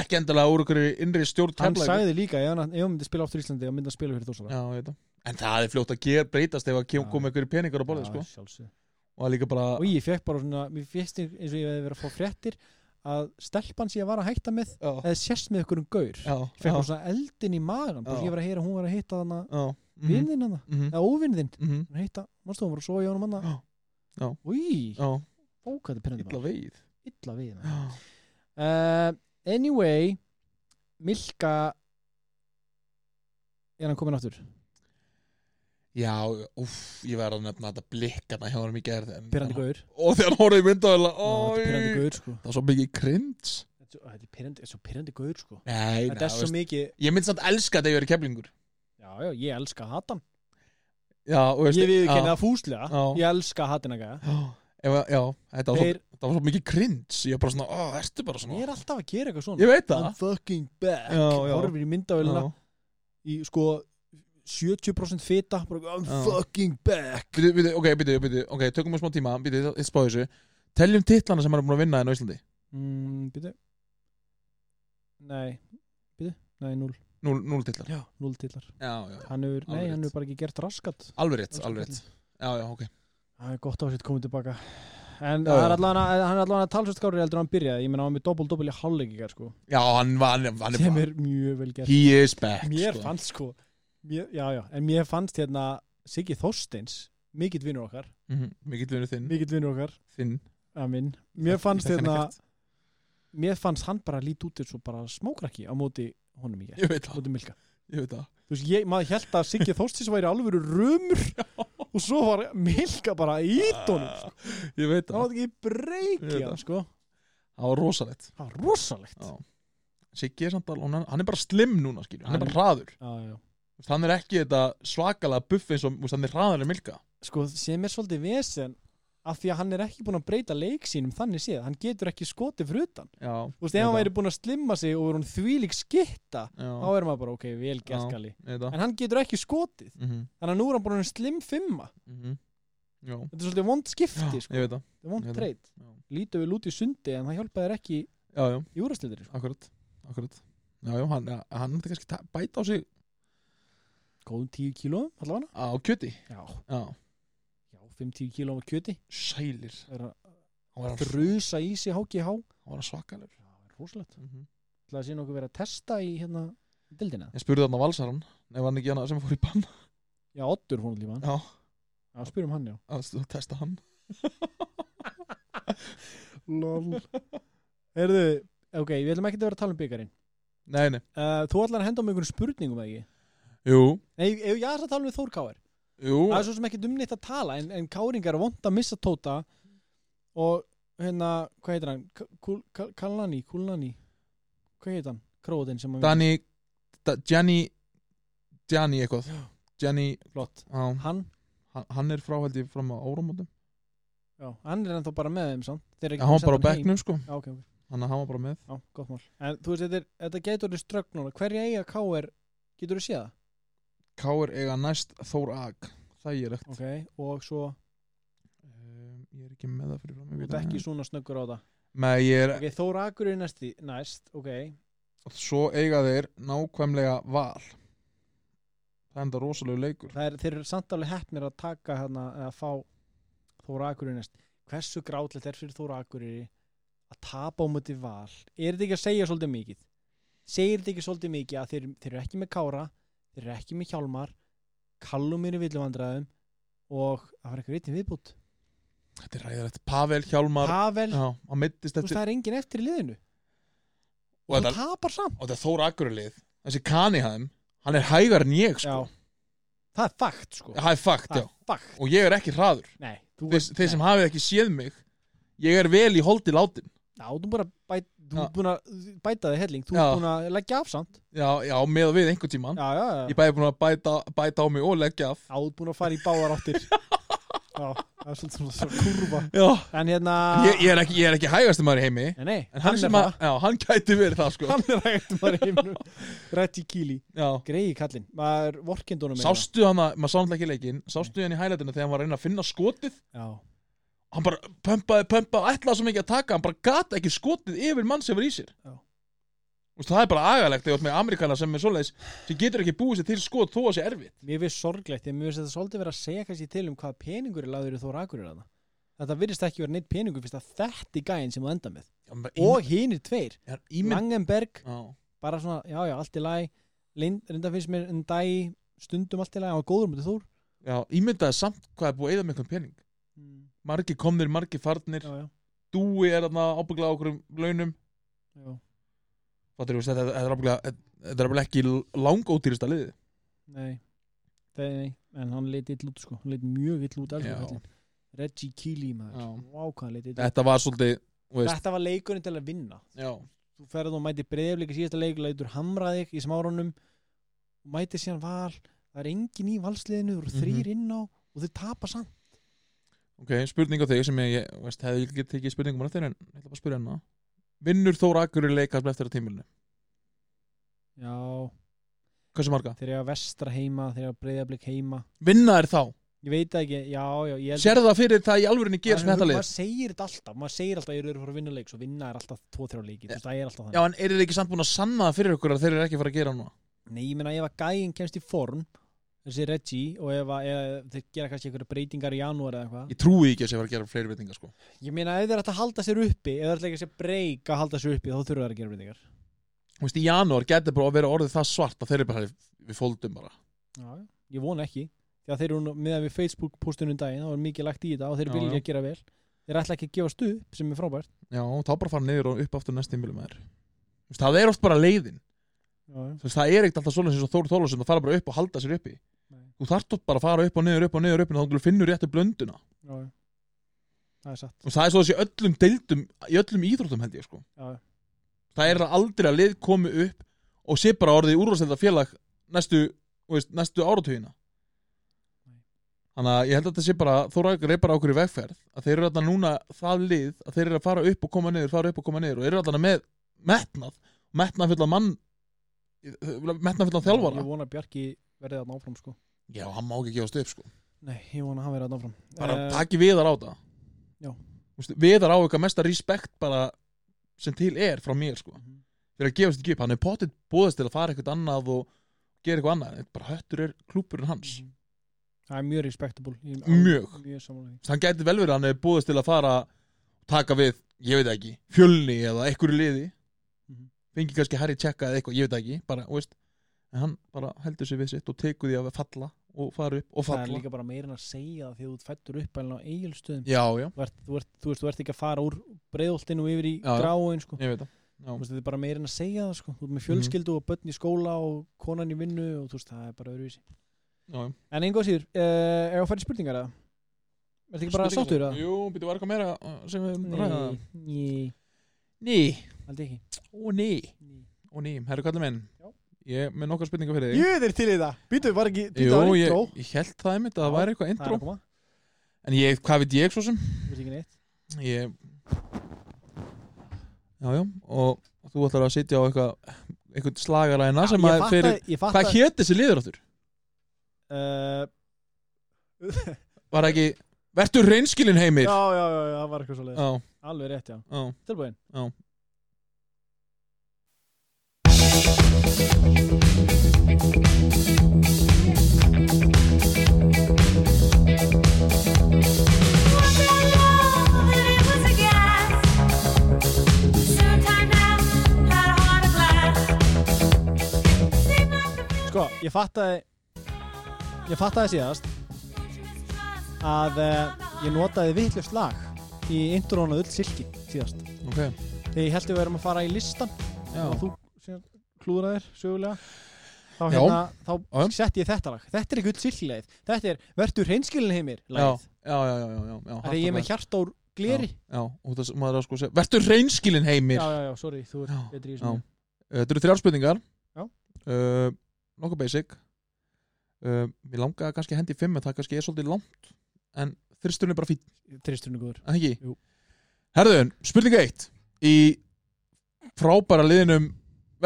S2: ekki endilega úr einhverju innri stjórn
S1: hann
S2: Keflavíkur.
S1: sagði líka ef hann ef hann myndi spila aftur í Íslandi og myndi að spila fyrir Þórsara
S2: Já, ég veit það. En það er fljótt að ger, breytast ef að kem,
S1: Já.
S2: kom einhverju peningar á borðið, sko.
S1: sko.
S2: Og það er líka bara,
S1: og ég fekk bara svona, mér finnst eins og ég hefði verið að fá fréttir að stelpan sem ég var að hætta með
S2: já,
S1: eða sérst með ykkur um gaur
S2: já,
S1: ég fekk
S2: já,
S1: bara svona eldin í magan bara
S2: Já.
S1: ég var að heyra að hún var að hitta þannig
S2: já,
S1: mm.
S2: mhm,
S1: vinninn hann
S2: mhm,
S1: eða óvinn þinn
S2: mhm,
S1: hún heita, mannstu hún var að sofa hjá hann manna
S2: Já. Já.
S1: Új,
S2: já,
S1: ókvæði pyrrandi
S2: illa
S1: maður
S2: veið.
S1: Illa við maður.
S2: Já,
S1: uh, Anyway Milka Er hann komin áttur?
S2: já, úff, ég verði að nefna þetta blikkana hjá hann í gerð.
S1: Pyrrandi gaur
S2: Og þegar hann horfði í myndaðala,
S1: Ó, Þetta er pyrrandi
S2: ói,
S1: gaur sko
S2: það var svo mikið cringe.
S1: Þetta er- þetta er pirrandi- þetta er svo pyrrandi gaur sko
S2: Nei, nei,
S1: Þetta er
S2: þú
S1: svo
S2: veist,
S1: mikið
S2: ég mynd samt elska þetta ef ég er keflingur.
S1: Já, já, ég elska hatan
S2: Já, þú veist,
S1: Ég við
S2: já,
S1: kenni það fúslega
S2: Já.
S1: Ég elska hatina gæja
S2: já, <gasps> ef að- já, þetta var svo-
S1: Þeir,
S2: þetta var svo mikið cringe. Ég er bara svona, ó, ertu bara
S1: ég er
S2: svona.
S1: alltaf að gera eitthvað svona
S2: Ég veit það.
S1: I'm fucking back
S2: Já, já.
S1: Horfir í myndavélina
S2: Já.
S1: í sko 70% fita bara, I'm
S2: Já.
S1: fucking back
S2: Bíddu, bíddu, ok, bíddu, bíddu, ok, tökum við smá tíma Bíddu, ég spáði þessu Teljum titlana sem hann er búin að vinna enn á Íslandi
S1: mm, Býtu Nei, býtu Nei, 0
S2: Núl, núl titlar
S1: Já, 0 titlar
S2: Já, já, já.
S1: Hann hefur, nei,
S2: Alveg
S1: hann
S2: rétt.
S1: hefur bara ekki gert raskat
S2: alveg rétt,
S1: Alveg
S2: alveg rétt Já, já, ok
S1: Það er gott á sitt komið tilbaka En
S2: Já,
S1: það
S2: já.
S1: er allan að, hann er allan að talsvist skárið heldur en hann byrjaði Ég meina, hann var með doppel-doppel í hálfleik í gær, sko
S2: Já, hann var, hann, hann er
S1: Sem
S2: bara
S1: er mjög vel gert
S2: He is back
S1: Mér
S2: sko.
S1: fannst, sko mér, Já, já, en mér fannst hérna Siggi Þorsteins, mikill vinnur okkar
S2: Mhm, Mikill vinur þinn,
S1: Mikill vinnur okkar,
S2: þinn
S1: að minn Mér fannst
S2: Ég þekki hann
S1: hérna,
S2: ekkert.
S1: mér fannst hann bara lít út eins og bara smákrakki á móti honum í gær,
S2: Ég
S1: á
S2: veit það,
S1: móti Milka
S2: ég veit það
S1: þú veist, ég, maður held að Siggi Þórstis væri alveg rumur og svo var Milka bara í ídónum sko.
S2: Ég veit
S1: það
S2: það,
S1: var ekki breyki hann sko.
S2: það var rosalegt
S1: það var rosalegt
S2: Já. Siggi er samt alveg, hann- hann er bara slim núna skilur Hann er
S1: Hann-
S2: bara hraður
S1: já, já.
S2: Þú veist, Hann er ekki þetta svakalega buff eins og þú veist, hann er hraður en milka
S1: sko, sem er svolítið vesen af því að hann er ekki búin að breyta leik sínum þannig séð, hann getur ekki skotið fyrir utan
S2: Já,
S1: þú veist, ef hann væri búin að slimma sig og verið hún þvílík skitta þá
S2: Já,
S1: er maður bara, ok, vel
S2: Já.
S1: gert gali
S2: ég veit það
S1: en hann getur ekki skotið,
S2: Mhm,
S1: þannig að nú er hann búin að slim fimma,
S2: mhm. Já,
S1: þetta er svolítið vond skipti
S2: ég
S1: sko.
S2: veit það
S1: þetta er vond
S2: Ég veit það.
S1: treyt,
S2: Já.
S1: lítið við lútið sundi en það hjálpaði þér ekki
S2: Já, já,
S1: í úrastildri sko.
S2: akkurat, akkurat. Já, já, hann, hann myndi kannski ta- bæta á sig
S1: góðum 10 kílóum allavega
S2: á kjöti.
S1: já, já
S2: Já,
S1: 5-10 kílóum af kjöti
S2: sælir.
S1: það er að
S2: Hann var, hann
S1: frusa í sig HGH já,
S2: var svakalur.
S1: það er rosalegt
S2: Mm
S1: það sé nokkuð verið að testa í hérna dildina
S2: Ég spurði þarna valsaran, ef hann ekki hann sem fór í bann.
S1: já, Oddur fór allir mann
S2: Já,
S1: já, spyrum hann já
S2: að stu- testa hann.
S1: lol erðu ok, við ætlum ekki að vera að tala um byggarinn
S2: Nei, nei.
S1: uh, þú ætlar að henda um einhverjum spurningum eða ekki
S2: Jú,
S1: nei, ef ég aðeins að tala um Þór Káir
S2: jú.
S1: það er svo sem ekki dumnitt að tala en, en Káringar er vond að missa tóta og hérna, hvað heitir hann K- Kul- Kal- Kalani, Kulani hvað heitir hann, króðin sem að
S2: Danny, da, Gianni, Gianni eitthvað.
S1: Já.
S2: Gianni,
S1: flott
S2: já,
S1: hann
S2: hann- hann er frá held ég fram á áramótum.
S1: Já, hann er ennþá bara með þeim samt Þeir eru
S2: Já,
S1: ekki
S2: hann var
S1: búin að senda hann
S2: bara á
S1: heim.
S2: bekknum sko.
S1: Já, ok, ok,
S2: Þannig að hann var bara með.
S1: já, gott mál En þú veist, þetta, er, þetta getur orðið strögg núna Hverja eiga K.R. getur þú séð það?
S2: Káir eiga næst Þór Ag. Þægilegt.
S1: Ok, og svo
S2: Um, ég er ekki með það fyrir fram.
S1: Ehm, þú
S2: ég veit
S1: ert
S2: það.
S1: ekki svona snöggur á það
S2: Nei, ég er
S1: Ok, Þóra Akur er næst, næst ok
S2: og svo eiga þeir nákvæmlega val það er enda rosalegu leikur
S1: Það er, Þeir eru samt alveg heppnir að taka hérna eða fá Þóra Akur er næst Hversu grátlegt er fyrir Þóra Akur að tapa á múti val Er þetta ekki að segja svolítið mikið? Segir þetta ekki svolítið mikið að þeir, þeir eru ekki með Kára Þeir eru ekki með Hjálmar Kallum er í villumandræðum og það var eitthvað reytin viðbútt
S2: þetta er ræðilegt, Pavel Hjálmar
S1: Pavel,
S2: já, hann mittist
S1: þú veist
S2: eftir
S1: það er engin eftir í liðinu
S2: og
S1: þú
S2: þetta,
S1: tapar samt
S2: og þetta er Þór Akurlið þessi Kanihæm, hann er hægar en ég sko.
S1: já. það er fakt sko
S2: það er fakt,
S1: það
S2: já,
S1: er fakt
S2: og ég er ekki hraður
S1: nei, þú
S2: þeir, þeir sem hafið ekki séð mig ég er vel í holdi látin
S1: já, þú bara bæt, þú
S2: Já.
S1: er búin að bæta þig helling þú
S2: Já.
S1: er búin að leggja af samt
S2: já, já, með og við einhvern tíman
S1: já, já, já.
S2: ég bæði búin að bæta, bæta á mig og leggja af <laughs>
S1: Já, þú er búin að fara í báðar áttir já, það er svolítið svona svona kurva
S2: Já,
S1: en hérna
S2: ég, ég, er ekki, ég er ekki hægastum maður í heimi
S1: nei, nei,
S2: En hann, sem
S1: er
S2: að, já, hann gæti verið það
S1: bara-
S2: sko
S1: hann er hægt maður heiminu Reggie Keely
S2: Já
S1: greiði kallinn maður vorkindunum
S2: Sástu hann að, maður sándla ekki leikinn Sástu hann í hælætinu þegar hann var að reyna að finna skotið
S1: hérna. já
S2: Hann bara pömpaði, pömpaði, ætlaði svo mikið að taka Hann bara gat ekki skotið yfir mann sem var í sér
S1: Já.
S2: Vist, Það er bara agalegt þegar þú ert með Amerikana sem er svoleiðis sem getur ekki búið sér til skot þó að sé erfitt
S1: Mér finnst sorglegt, ég mér finnst þetta svolítið verið að segja kannski til um hvaða peningur er lagður í Þóra Akurir að það. Þetta virðist ekki verið neitt peningur fyrst að þetta er gæinn sem þú enda með.
S2: Já, bara
S1: Og hinir tveir,
S2: ímynd- já, ímynd-
S1: Langenberg,
S2: Já.
S1: bara svona, já já, allt í læg, reynda finnst mér en dæ, stundum allt í læg, hann var góður mútið Þór.
S2: Já, ímyndaði samt hvað er búið að eða með einhvern pening Margi komnir, margi farnir
S1: Já, já,
S2: Dúi er þarna ábyggla á okkur launum
S1: já,
S2: Fattur, veist, þetta, þetta er ábyggla Þetta er ábyggla ekki langótýrista liði
S1: nei, það er nei, en hann leit ill út sko, hann leit mjög ill út
S2: Já.
S1: alveg kallinn. Reggie Keely maður,
S2: Já.
S1: vá hvað hann leit ill út.
S2: Þetta var svolítið þú veist,
S1: Þetta var leikurinn til að vinna.
S2: já,
S1: þú ferð og mæti breyðleika síðasta leik leitur hamraðik í smárunum mæti síðan val það er engin í valsliðinu, þú eru
S2: Mhm.
S1: þrýr inn á og þau tapa samt
S2: ok, spurning á þig sem ég, ég veist, hefði ég getið tekið spurningum á eftir en ég ætla bara að spyrja hennar Vinnur Þóra Akurur leikast eftir að tímilinu?
S1: já,
S2: Hversu marga?
S1: þeir eru að vestra heima þeir eru að breyðleik heima
S2: Vinna er þá?
S1: ég veit það ekki, já, já ég held-
S2: Sérðu það fyrir það í alvörinni gerist með þetta lið?
S1: maður segir þetta alltaf maður segir alltaf að þeir eru að fara að vinna leik svo vinna er alltaf 2-3 leiki, þú veist það er alltaf
S2: Já,
S1: þannig
S2: en eru þið ekki samt búin að sanna það fyrir okkur að þeir eru ekki að fara að gera núna?
S1: nei, ég meina ef að gæinn kemst í form þessi Reggie og ef að ef þeir gera kannski einhverja breytingar í janúar eða eitthvað
S2: Ég trúi ekki að sé að fara að gera fleiri breytingar sko
S1: ég meina ef þeir ætla að halda sér uppi ef þeir ætla ekki að breyka að halda sér uppi þá þurfa þeir að gera breytingar
S2: Þú veist, í janúar getur bara að vera orðið það svart að þeir eru bara, við fóldum bara
S1: Já, já. ég vona ekki því að þeir eru nú- miðað við Facebook postunum daginn þá er mikið lagt í þetta og þeir
S2: Já,
S1: vilja
S2: já.
S1: ekki að gera vel þeir ætla ekki að gefa stuð sem er frábært
S2: Já, þá bara fara niður og upp aftur næst tímilum aður Það er oft bara leiðin
S1: já, já.
S2: Þú veist, það er ekkert alltaf svolítið eins og Þór Þólasund að fara bara upp og halda sér uppi
S1: Nei.
S2: Þú þarft oft bara að fara upp og niður, upp og niður, upp og þá finnur réttu blönduna
S1: Já, já. það er satt
S2: og það er svo þessi öllum deildum í öllum íþróttum held ég sko
S1: já, já.
S2: það er það aldrei að lið komi upp og sé bara orðið úrvarsleita félag næstu, þú veist, næstu áratugina
S1: Nei.
S2: þannig að ég held að þetta sé bara Þóraðingar er bara okkur í vegferð að þeir eru alltaf núna það lið að þeir eru að fara upp og koma niður, fara upp og koma niður og eru alltaf með metnað, metnað fulla mann metnað fulla þjálfara
S1: ég vona að Bjarki verði þarna áfram sko
S2: já, hann má ekki gefast upp sko
S1: nei, ég vona að hann verði þarna áfram
S2: bara
S1: Eh,
S2: taki viðar á það
S1: Já.
S2: Vistu, viðar á eitthvað mesta respekt bara sem til er frá mér sko
S1: mhm.
S2: fyrir að gefast ekki upp, hann er potið búðast til að fara eitthvað annað og gera eitthvað annað en bara höttur er klúpurinn hans
S1: Mhm. það er mjög respectable Ég er
S2: Mjög.
S1: alveg- mjög samanlega
S2: hann gæti vel verið að hann er búðast til að fara taka við, ég veit ekki, fjölni eða einhverju liði
S1: Mhm.
S2: fengi kannski Harry Tjekka eða eitthvað, ég veit ekki bara, þú veist, en hann bara heldur sér við sitt og tekur því að falla og fara upp og
S1: það er
S2: falla
S1: líka bara meira en að segja það því að þú ert fættur upp en á eigilstöðum
S2: já, já,
S1: þú ert, þú, ert, þú, veist, þú ert ekki að fara úr breiðoltinu og yfir í
S2: Já, já. Mhm.
S1: gráin sko
S2: ég veit það
S1: Þú veist, þetta er bara meira en að segja það sko þú ert með fjölskyldu og börn í skóla og konan í vinnu og þú veist, það er bara öðruvísi
S2: já, já.
S1: en einhvað síður, uh, er það að fara í spurningar eða? Er þetta ekki bara
S2: Spurningar
S1: sáttur
S2: sem-
S1: eða?
S2: Jú, býttu var eitthvað meira uh, sem við erum að ræða
S1: Nei, nei,
S2: Ný,
S1: aldrei ekki
S2: ó ný,
S1: Ný.
S2: ó ný, herru kallið minn
S1: Já.
S2: Ég er með nokkar spurningar fyrir þig
S1: Jú, þeir til í það, býtu, var ekki
S2: Jú, ég, ég held það einmitt að
S1: Já,
S2: það væri eitthvað
S1: það er
S2: intro
S1: að koma,
S2: En ég, hvað veit ég svo sem?
S1: þú veist ekki neitt
S2: Ég Já, já, og þú ætlar að sitja á eitthvað eitthvað slagaræna sem að
S1: Ég
S2: fyrir
S1: fatta- ég
S2: Hvað
S1: fatta
S2: hétt þessi liður áttur?
S1: Eh,
S2: Var það ekki, vertu reynskilin heimir
S1: Já, já, já, já, það var eitthvað svo
S2: já,
S1: alveg rétt, já,
S2: já.
S1: tilbúin
S2: Já.
S1: Sko, ég fattaði ég fattaði síðast að uh, ég notaði vittlust lag í intrónu öll silki síðast
S2: Ok,
S1: Þegar ég held að við erum að fara í listan
S2: já,
S1: og þú síðan klúðraðir sögulega þá,
S2: Já.
S1: hérna,
S2: Já, já.
S1: þá setti ég þetta lag þetta er ekki öll silkilegið, þetta er verður reynskilin heimir
S2: já,
S1: lagið,
S2: já, já, já, já, já
S1: þegar ég er með hjarta úr gleri já,
S2: Já, já, og það maður er að sko segja Vertu reynskilin heimir
S1: já, já, sorry, þú ert
S2: Já,
S1: betri í
S2: já.
S1: þessu
S2: Uh, Þetta eru þrjár spurningar
S1: Já.
S2: uh, Eh, Nokkuð basic uh, Mér langaði kannski að hendi í fimm en það kannski er svolítið langt En þristurinn er bara fín
S1: Tristurinn er góður
S2: en ekki
S1: Jú.
S2: Herðun, spurning eitt í frábæra liðinum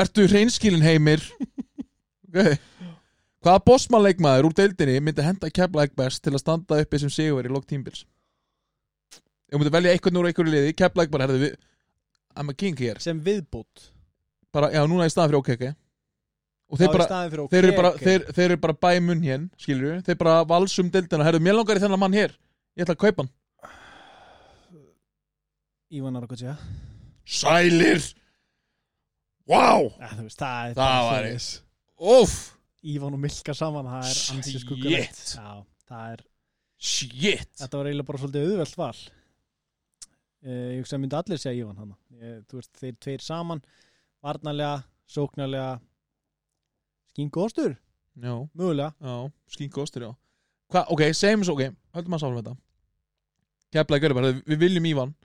S2: vertu hreinskilin
S1: <laughs>
S2: heimir okay. hvaða bossmannleikmaður úr deildinni myndi henda Keflæk best til að standa uppi sem sigurveri í lok tímbils ég myndi velja einhvern úr einhverju liði Keflæk bara herðu við I'm a king here
S1: sem viðbútt
S2: bara, já, núna í staðan fyrir OKK og
S1: Þá
S2: þeir
S1: í
S2: bara,
S1: staðinn fyrir
S2: þeir eru bara,
S1: OKK.
S2: þeir, þeir eru bara bæmun hér skilur við, þeir bara valsum deildina herðu, mér langar í þennan mann hér, ég ætla að kaupa hann
S1: Ívan Argoja
S2: Sælir Vá wow.
S1: Ah, Það er
S2: Það
S1: bara
S2: væri-
S1: svoleiðis.
S2: Óf,
S1: Ívan og Milka saman það er ansi
S2: Shit.
S1: skuggalegt Já, það er
S2: shit
S1: Þetta var eiginlega bara svolítið auðvelt val uh, Ég hugsa að myndi allir segja Ívan hana uh, Þú veist, þeir tveir saman Varnarlega, sóknarlega Skingostur,
S2: Já,
S1: mögulega
S2: já, skinku ostur, já Hva, ok, segjum svo, ok, höldum að sála þetta Keflaði görðu bara, við viljum Ívan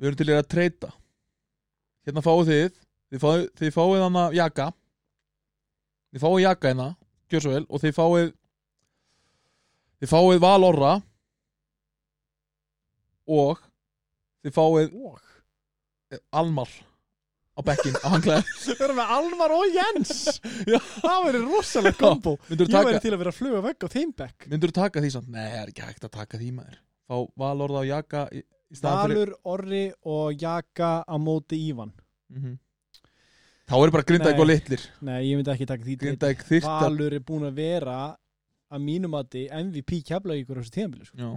S2: Við erum til í að treyta Hérna fáið þið Þið fáið, þið fáið hana jaka Þið fáið jaka hérna Gjör svo vel, og þið fáið Þið fáið Val Orra Og Þið fáið
S1: Og
S2: Almar Á bekkin, á hanglega
S1: Við erum með Alvar og Jens
S2: <laughs> Já.
S1: Það verður rosalega kombo
S2: Myndur
S1: Ég verður til að vera að fluga vegg á þeim bekk
S2: Myndur þú taka því samt? Nei, það er ekki hægt að taka því maður Fá valorða á jaka í, í staðan fyrir
S1: Valur, Orri og Jaka á móti Ívan
S2: mm Þá er bara Grindavík
S1: Nei.
S2: og litlir
S1: Nei, ég myndi ekki taka því til
S2: Grindavík þyrta
S1: Valur er búin að vera að mínum mati MVP kefla ykkur á þessu tíðanbili sko.
S2: Já.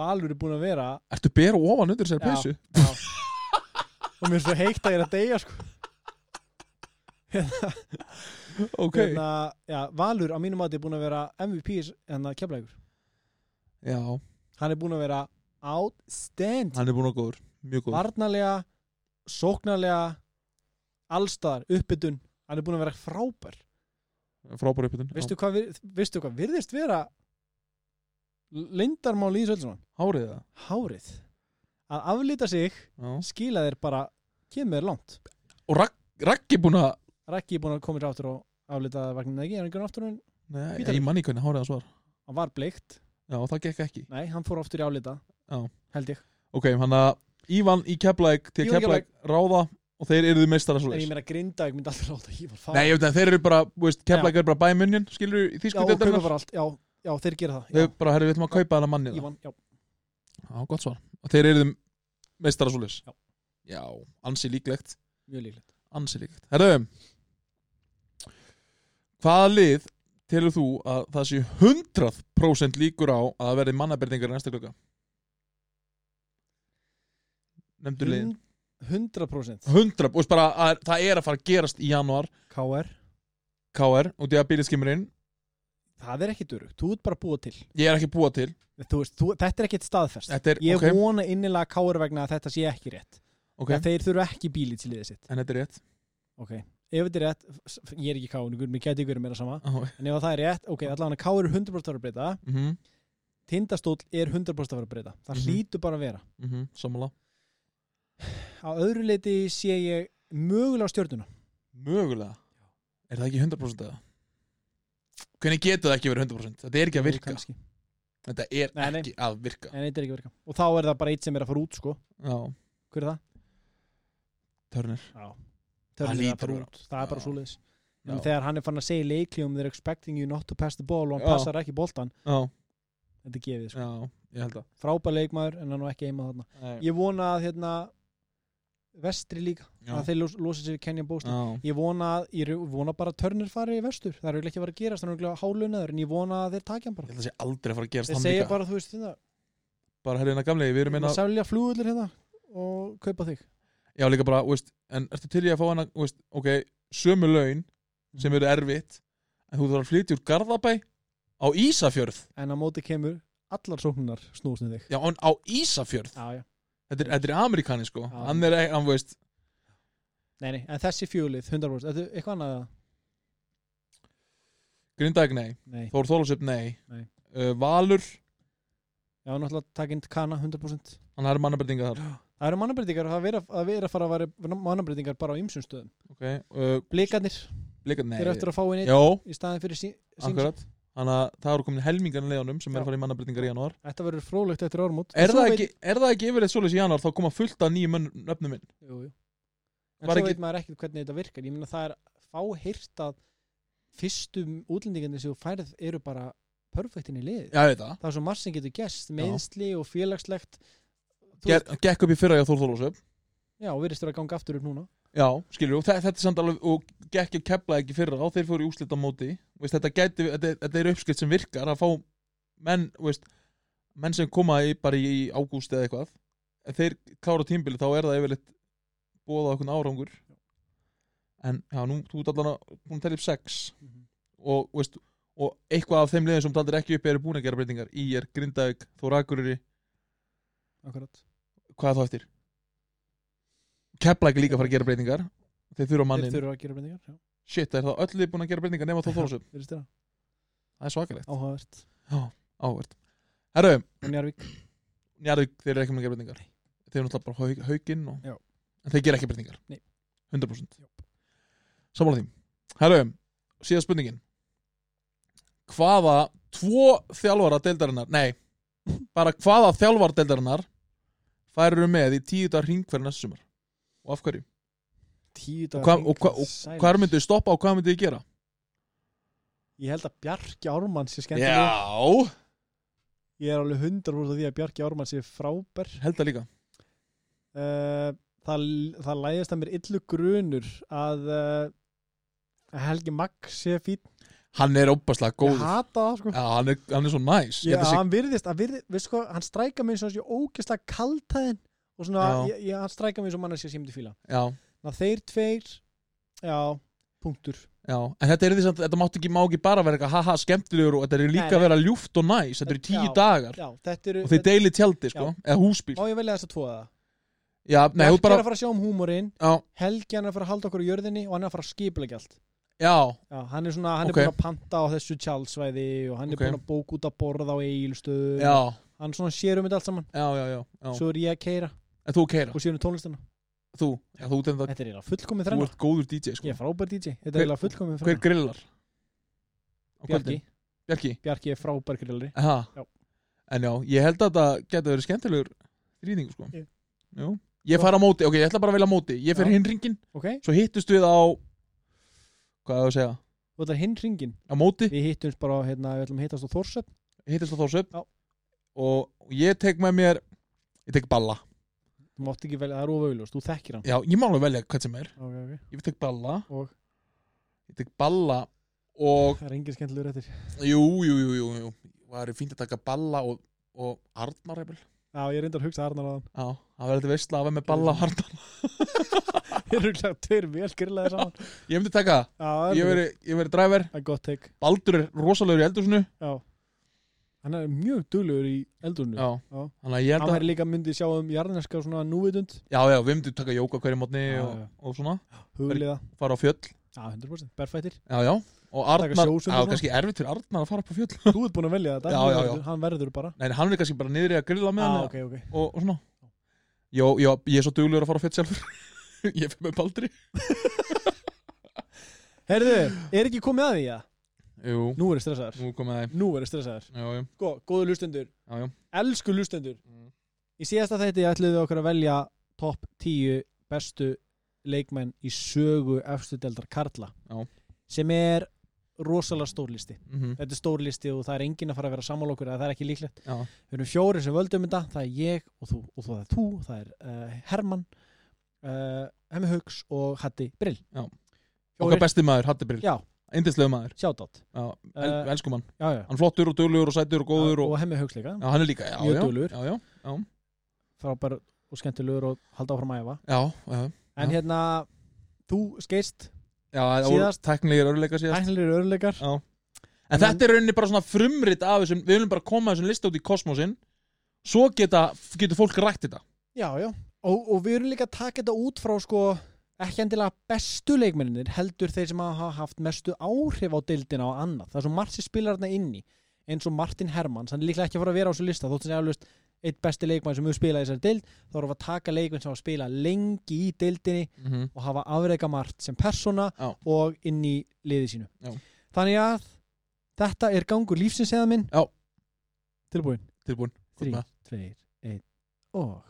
S1: Valur er búin að vera
S2: Ertu bera ofan undir sér
S1: Já.
S2: peysu?
S1: já, og mér er svo heikt að ég er að deyja sko.
S2: Ok
S1: hérna, já, Valur á mínum mati er búin að vera MVP en að kefla ykkur
S2: Já,
S1: hérna, hann er búin að vera outstanding
S2: hann er búin að góður Mjög góður
S1: varnarlega, sóknarlega allstaðar, uppbytun hann er búin að vera frábær
S2: Frábæri uppbytun
S1: veistu hvað, vir- veistu hvað virðist vera lindarmál í þessu öllu saman?
S2: Hárið það
S1: hárið að aflita sig
S2: Já.
S1: skila þér bara kemur þér langt
S2: Og Rak Raggi búin að
S1: Raggi er búin að koma sér aftur og aflita vagnina ekki, er hann ekki aftur en
S2: Nei,
S1: Hvítar.
S2: ég manni ekki hvernig hárið það svar
S1: hann var bleikt,
S2: Já, það gekk ekki
S1: nei, hann fór aftur í aflita
S2: Já.
S1: held ég,
S2: Ok, hann að Ívan í Keflavík til
S1: Ívan í
S2: Keflavík ráða og þeir eru meistara svo
S1: en ég meina grinda ég myndi aldrei láta hífa fara
S2: Nei, ég veit að þeir eru bara, þú veist, Keflavík er bara bæmunnin skilur
S1: já,
S2: í
S1: og kaupa
S2: þýskundeldinnar
S1: bara allt, já, já, þeir gera það
S2: Þau
S1: já,
S2: bara, herri, við ætlum að kaupa þennan manni það.
S1: Ívan, já,
S2: Já, gott svar. Og þeir eru meistara svolis.
S1: Já.
S2: Já, ansi líklegt.
S1: mjög líklegt
S2: Ansi líklegt. Herru, hvaða lið telur þú að það sé 100% líkur á að það verði mannaberdingar í næsta klukka? Nefndu liðin.
S1: Hund- 100%
S2: 100, og veist bara að það er að fara að gerast í januar,
S1: KR,
S2: KR, út í að bíliskimurinn,
S1: það er ekki durugt, þú ert bara að búa til
S2: ég er ekki að búa til,
S1: þú veist, þú, þetta er ekkit staðfest
S2: þetta er,
S1: ég
S2: ok,
S1: vona innilega KR vegna að þetta sé ekki rétt
S2: ok,
S1: að þeir þurfa ekki bíli til liðið sitt
S2: en þetta er rétt.
S1: ok, ef þetta er rétt f- f- ég er ekki káunugur, mér geti ykkur meira sama
S2: Oh,
S1: en ef það er rétt, ok, allavega káur er 100% að fara að breyta
S2: mm -hmm,
S1: tindastóll er 100% að fara að breyta það
S2: Mhm.
S1: hlýtur bara að vera
S2: mm -hmm, sammála.
S1: á öðru leiti sé ég mögulega á stjörnuna
S2: Mögulega Er það ekki 100% eða? Hvernig getur það ekki verið 100%? Þetta er ekki að
S1: Jú,
S2: virka
S1: kannski.
S2: Þetta er
S1: Nei, nei.
S2: ekki að virka
S1: en þetta er ekki að virka og þá er það bara eitt sem er að fara út sko
S2: Já,
S1: hver er það?
S2: törnir
S1: Já.
S2: Það
S1: Törnir er
S2: hlýtur
S1: að fara
S2: að vera.
S1: út, það er bara
S2: Já.
S1: svoleiðis
S2: Já.
S1: en þegar hann er fann að segja í leikljum they're expecting you not to pass the ball og hann
S2: Já.
S1: passar ekki boltan
S2: Já,
S1: þetta er gefið sko.
S2: já, ég held að
S1: frábær leikmaður en hann var ekki eimað þarna ég vona að hérna vestri líka
S2: Já.
S1: að þeir los- losi sér Kenyan Bóstin
S2: Já,
S1: ég vona, að, ég ru- vona bara að törnir fari í vestur það er auðvitað ekki að vera að gerast, það er auðvitað hálunnaður en ég vona að þeir takja hann
S2: ég
S1: bara
S2: held að það sé aldrei að fara að gerast
S1: þeir
S2: hann
S1: segja
S2: líka
S1: bara, þú veist, þetta
S2: Bara herrið hennar gamlegi, við erum
S1: Meina...
S2: einna
S1: selja flugullir hérna og kaupa þig
S2: Já, líka bara, þú veist En ertu til ég að fá hana, þú veist Ok, sömu laun
S1: Mm.
S2: sem eru erfitt En þú þarf að flytja úr Garðabæ á Ísafjörð
S1: en á móti kemur allar sóknunar snúsnið þig
S2: Já, en á Ísafjörð
S1: já, já.
S2: Þetta er, þetta er Amerikani, sko
S1: Mm. Já.
S2: Hann er, hann veist
S1: Nei, nei, en þessi fjölið, 100% Þetta er eitthvað annað eða?
S2: Grindag, nei
S1: nei.
S2: Þór Þólasöp, nei,
S1: Nei.
S2: Uh, Valur,
S1: já, náttúrulega takind kana 100%
S2: hann er mannabendinga þar
S1: það eru mannabreytingar, það vera, að vera að fara að vera mannabreytingar bara á ymsum stöðum
S2: okay. uh,
S1: blikarnir,
S2: Blika, nei
S1: þeir eru eftir að fá inn einn
S2: Jó,
S1: í staðin fyrir sí, Simpson.
S2: akkurat þannig að það eru komin helmingan leðanum sem er
S1: Já. Sko,
S2: að fara í mannabreitingar í janúar
S1: Þetta verður fróðlegt eftir ármót
S2: er, það ekki, er það ekki yfirleitt svoleiðis í janúar þá koma fullt af nýjum mönn- nöfnum inn
S1: Jú, jú. En
S2: Var
S1: svo
S2: ekki-
S1: veit maður ekkert hvernig þetta virkar Ég meina það er fáheyrt að fyrstu útlendingarnir sem þú færð eru bara perfektin í liðið
S2: já, ég veit það
S1: Það er svo margt sem getur gerst, meðsli og félagslegt Þú
S2: Ger, gekk upp í fyrra hjá Þór Þórlósöf
S1: Já, og virðist vera að ganga aftur upp núna
S2: já, skilur þú, þetta er samt alveg og gekk ekki kepla ekki fyrra þá þeir fóru í úslita móti veist, þetta, gæti, þetta, þetta er uppskrift sem virkar að fá menn, veist, menn sem koma í, bara í ágúst eða eitthvað ef þeir klára tímbili þá er það yfirleitt bóða okkur árangur en já, nú, þú ert allan að búin að telja upp sex og, veist, og eitthvað af þeim liðin sem taldir ekki upp eru búin að gera breytingar í er Grindavík, Þór Akureyri
S1: Akkurat
S2: hvað er þá eftir? Kepla ekki líka að fara að gera breytingar þeir þurfa
S1: Þeir
S2: mannin,
S1: þurfa að gera breytingar já.
S2: shit, er þá öll lið búin að gera breytingar nema þá þóðsum,
S1: Virðist vera
S2: það er svakalegt
S1: áhugavert
S2: ávert, herru,
S1: Og Njarvík
S2: Njarðvík, þeir eru ekki búin að gera breytingar þeir eru náttúrulega bara haug, hauginn og...
S1: Já.
S2: en þeir gera ekki breytingar
S1: Nei.
S2: 100%
S1: Jú.
S2: sammála því, herru, síðan spurningin hvaða tvo þjálfara deildarinnar,
S1: <laughs>
S2: nei bara hvaða þjálfara deildarinnar færur með í tíu dag ringverð næsta sumar og af hverju?
S1: Tíu
S2: Og
S1: dagar
S2: hvað- og
S1: hring,
S2: hvað- og
S1: sælir.
S2: Hvar myndu þið stoppa og hvað myndu þið gera?
S1: Ég held að Bjarki Ármann sé skemmtileg
S2: Já,
S1: Ég er alveg hundar úr því að Bjarki Ármann sé frábær
S2: held það líka
S1: uh, það, það læðist að mér illu grunur að uh, að Helgi Magg sé fín
S2: Hann er óbærslega
S1: ég
S2: góður
S1: hata það sko
S2: Já, hann er, hann er svo næs
S1: ég,
S2: Ég held að sé-
S1: hann virðist, hann virðist, veistu sko hann strækar mig eins og þessi ógeðslega kaltæðin og svona,
S2: Já.
S1: ég, ég, hann strækar mig eins og mann að sé sem til fíla
S2: Já,
S1: Ná, þeir tveir, já, punktur
S2: já En þetta er því samt, þetta mátti ekki, má ekki bara vera eitthvað Haha, skemmtilegur og þetta er líka
S1: Nei,
S2: að vera ljúft og næs Þetta eru tíu
S1: Já.
S2: dagar
S1: já, þetta eru,
S2: Og þeir deili tjaldi, sko, eða húsbíl
S1: má ég velja þess að tvoða það
S2: Já, nei, þú
S1: Bjarki er
S2: bara
S1: að fara að sjá um húmórin
S2: Já,
S1: Helgi hann er að fara að halda okkur á jörðinni og hann er að fara að skipulegja allt
S2: já,
S1: Já, hann er svona, hann
S2: Ok.
S1: er búin að panta á þessu tjálsvæði og hann
S2: Ok.
S1: er búin að bók út að borða á eigilstöð
S2: já,
S1: hann svona sér um þetta allt saman
S2: já, já, já, já.
S1: svo er ég að keira
S2: En þú keira,
S1: og sér um tónlistina
S2: þú, já, þú, þú,
S1: þetta er eiginlega fullkomið
S2: þú
S1: þrenna
S2: ert góður DJ, sko
S1: ég er frábær DJ, þetta
S2: Hver-
S1: er eiginlega fullkomið
S2: Hver
S1: þrenna
S2: grillar? Á
S1: Bjarki,
S2: kvöldin? Bjarki
S1: Bjarki er frábær grillari
S2: Aha.
S1: Já.
S2: En já, ég held að það geta verið skemmtilegur þrýðingur sko
S1: Já.
S2: Jú. Ég fara á móti, ok, ég ætla bara að velja á móti Ég fer
S1: Já.
S2: hinn ringin,
S1: ok,
S2: svo hittust við á Hvað er það að segja?
S1: og þetta er hinn ringin
S2: Á móti,
S1: við hittumst bara, á, hérna, við ætlum að hittast á Þórsöp
S2: hittust á Þórsöp
S1: Já.
S2: Og ég tek með mér Ég tek balla
S1: þú mátt ekki velja, það er ofauðlust, þú þekkir hann
S2: Já, ég má alveg velja hvað sem er
S1: ok, ok,
S2: Ég tek balla
S1: Og?
S2: Ég tek balla og
S1: það er engin skemmtilegur eftir
S2: Jú, jú, jú, jú, jú. Það er fínt að taka balla og, og Arnar hefur
S1: já, ég reyndar að hugsa Arnar á
S2: Já, það verður þetta veistla að vera með balla og Arnar
S1: hann <laughs> þeir eru klæðið tveir vel grillaði
S2: <laughs>
S1: saman já,
S2: Ég myndi taka það
S1: það
S2: Ég
S1: er
S2: veri, ég veri driver
S1: það er gott teik
S2: Baldur er rosalegur í eldhúsinu
S1: já hann er mjög duglegur í eldurnu
S2: Já, þannig að ég
S1: hann
S2: held að
S1: væri líka myndið sjá um jarðneska svona núvitund
S2: Já, já, við myndum taka jóka hverju mótni
S1: Já,
S2: og,
S1: já.
S2: og svona,
S1: hugliða
S2: fara á fjöll
S1: Já, 100% berfættir
S2: Já, já, og Arnar
S1: sjósund og
S2: Já,
S1: svona.
S2: kannski erfitt fyrir Arnar að fara upp á fjöll <laughs>
S1: Þú ert búin að velja þetta
S2: Já,
S1: hann
S2: já, já.
S1: verður- Hann verður bara
S2: Nei, hann er kannski bara niðri að grilla með
S1: ah,
S2: hann
S1: ok, ok
S2: og, og svona Jó, já, ég er svo duglegur að fara á fjöll sjálfur <laughs> Ég fyrir með Baldri
S1: Herðu, er ekki komið að því að?
S2: Jú,
S1: Nú er ég stressaður
S2: nú komið það
S1: Nú er ég stressaður
S2: Já, já,
S1: Sko, góðu lustendur
S2: já, já
S1: Elsku lustendur
S2: Mm.
S1: Í síðasta þætti ætlum við okkur að velja topp 10 bestu leikmenn í sögu efstu deldar Karla
S2: Já.
S1: sem er rosalega stór listi
S2: Mhm.
S1: Þetta er stór listi og það er enginn að fara að vera sammála okkur eða það er ekki líklegt
S2: Já,
S1: Við erum fjóri sem völdum þetta, það er ég og þú og það er þú, það er uh, Herman uh, Hemmi Hauks og Hatti Brill.
S2: Já.
S1: Fjórir,
S2: okkar besti maður, Hattibrill
S1: Já,
S2: Indislegu maður,
S1: sjátt
S2: já, el,
S1: Eh,
S2: elskum hann
S1: Já, já.
S2: Hann flottur og duglegur og sætur og góður og,
S1: og Hemmi Hauks líka,
S2: Já, hann er líka, já,
S1: Mjög
S2: já
S1: duglegur.
S2: Já, já, já,
S1: frábær og skemmtilegur og halda áfram að æfa.
S2: já, já
S1: En hérna, þú skeist
S2: Já, það voru
S1: Síðast-
S2: tæknilegir örleika síðast
S1: hægnilegir örleikar.
S2: Já. En þetta er rauninni bara svona frumrit af þessum Við viljum bara koma þessum lista út í kosmósinn Svo geta, getur fólk rætt þetta
S1: Já, já. Og, og við erum líka að taka þetta út frá sko ekki endilega bestu leikmenninir heldur þeir sem hafa haft mestu áhrif á deildina og annað. Það er svo margt sem spilar þarna inni eins og Martin Hermans, hann er líklega ekki að fara að vera á þessu lista þótt sem er alveg eitt besti leikmann sem hefur spilað í þessari deild, þá erum við að taka leikmenn sem hafa spilað lengi í deildinni
S2: mm -hmm.
S1: og hafa afreika margt sem persóna
S2: Já.
S1: og inn í liði sínu.
S2: Já.
S1: Þannig að Þetta er gangur lífsins eða minn
S2: Já.
S1: Tilbúin
S2: tilbúin Gott
S1: Þrír.
S2: með það.
S1: Tveir, einn og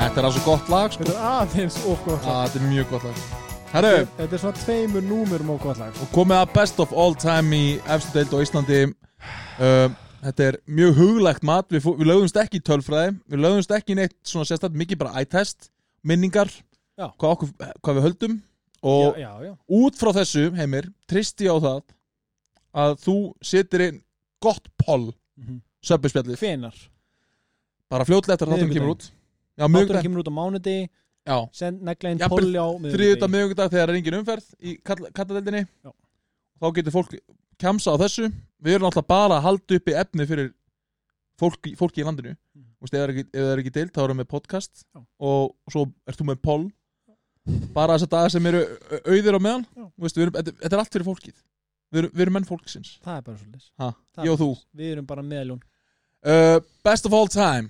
S2: Þetta er alveg gott lag sko
S1: Þetta er aðeins og gott
S2: Ah,
S1: lag
S2: Þetta er mjög gott lag Herru,
S1: Þetta er svona tveimur númurum og gott lag
S2: og komið að best of all time í efstu deild á Íslandi um, þetta er mjög huglegt mat við, fó- við lögumst ekki í tölfræði við lögumst ekki í neitt svona sérstætt mikið bara eye-test minningar
S1: Já.
S2: hvað, okkur, hvað við höldum
S1: Já,
S2: og
S1: já, já
S2: út frá þessu, Heimir, tristi á það að þú setir inn gott poll
S1: Mhm.
S2: söpbespjallið,
S1: Hvenar?
S2: bara fljótlega eftir að þátturinn kemur út já, mjög
S1: Þátturinn kemur út á mánudi
S2: já,
S1: Send negla inn
S2: Jafnvel
S1: polli á miðvikudegi.
S2: þriðut að miðugdag þegar er engin umferð í kall- kalladeldinni
S1: Já.
S2: þá getur fólk kjamsa á þessu við erum alltaf bara að halda uppi efni fyrir fólki, fólki í landinu mm.
S1: Mhm.
S2: Vist, ef, það er ekki, ef það er ekki deilt þá erum við með podcast
S1: Já.
S2: og svo ert þú með poll bara þess að dagar sem eru au- auðir á meðan
S1: Já.
S2: Vist, við erum, þetta, þetta er allt fyrir fólkið við erum, við erum menn fólksins
S1: Það er bara svolítið
S2: ha,
S1: Það
S2: ég
S1: er
S2: og þú
S1: Við erum bara meðlun
S2: uh, best of all time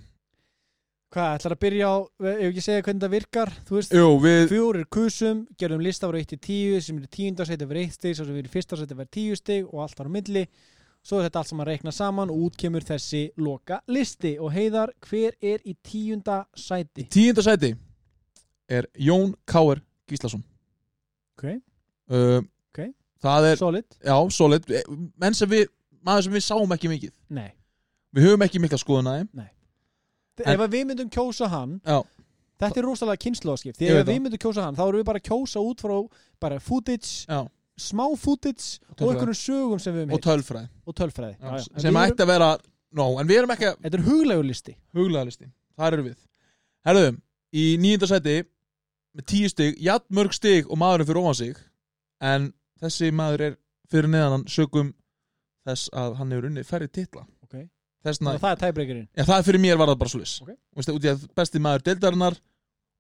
S1: Hvað, ætlar að byrja á Ef ég segja hvernig það virkar Þú veist
S2: Jú, við,
S1: Fjórir kusum, gerðum lista frá 1 til 10 sem er tíundarsæti fyrir 1 stig, svo sem er fyrstarsæti fyrir 10 stig og allt var á milli svo er þetta allt saman reikna saman og út kemur þessi loka listi og heiðar, hver er í tíundasæti?
S2: tíunda sæti er Jón Káir Gíslason
S1: Ok.
S2: uh,
S1: Ok.
S2: það er
S1: Solid?
S2: Já, solid Eh, Menn sem við, maður sem við sáum ekki mikið
S1: Nei.
S2: Við höfum ekki mikla skoðun aðeim En-
S1: Ef að við myndum kjósa hann
S2: Já.
S1: þetta er rosalega kynnslóðskipt,
S2: Ég
S1: því
S2: veit
S1: ef við
S2: það.
S1: myndum kjósa hann þá erum við bara að kjósa út frá bara footage,
S2: Já,
S1: smá footage og
S2: tölfræði.
S1: einhvernum sögum sem við höfum
S2: og
S1: heilt
S2: tölfræði
S1: og tölfræði. Já, já. En
S2: Sem
S1: við erum-
S2: ætti að vera no, En við erum ekki að
S1: Þetta er huglegur listi.
S2: huglega listi Þar eru við Herðum, í nýjunda sæti Með tíu stig, jafnmörg stig og maðurinn fyrir ofan sig En þessi maður er fyrir neðan hann Sögum þess að hann hefur unnið færri titla
S1: Okay.
S2: Þessna,
S1: Það er tæbreykurinn.
S2: Já, það fyrir mér var það bara
S1: Ok.
S2: svolítið okay. Vist, út í að besti maður deildarinnar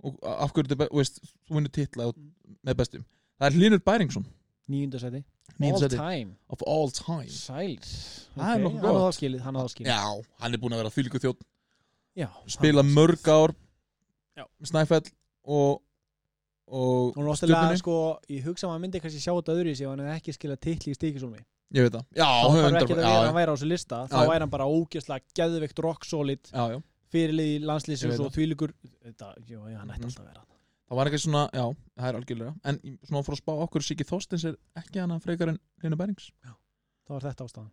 S2: og af hverju þetta er be- veist, þú vinnur titla og-
S1: Mm.
S2: með bestum það er Linur Bæringsson
S1: Níundasæti.
S2: níunda
S1: All
S2: sæti,
S1: time.
S2: of all time
S1: Sæls
S2: Það er
S1: Ok,
S2: nokkuð
S1: Hann á
S2: gott.
S1: það skilið, hann á það skilið
S2: já, hann er búin að vera fylgu þjótt
S1: Já,
S2: spila
S1: hann-
S2: mörg ár
S1: Já.
S2: Snæfell og, og
S1: Hún er
S2: Stjörnunni.
S1: óstilega sko, ég hugsa að maður myndi kannski sjá þetta öðru í sig hann hefði ekki skilað titli í stíkisólmi
S2: ég veit það já,
S1: Þá
S2: höfum
S1: þarf
S2: undar-
S1: ekki að vera að hann
S2: já,
S1: væri á þessu lista þá
S2: Já, já.
S1: væri hann bara ógeðslega geðveikt rock solid
S2: já, já.
S1: fyrirlið í
S2: Ég
S1: landslýsins
S2: veit
S1: og þvílugur þetta, jú, já, hann ætti
S2: Mhm.
S1: alltaf að vera þarna.
S2: það var ekki svona, já, það er algjörlega en í- svona fór að spá okkur Siggi Þorstins er ekki hann að frekar en Linur Bærings
S1: Það var þetta ástæðan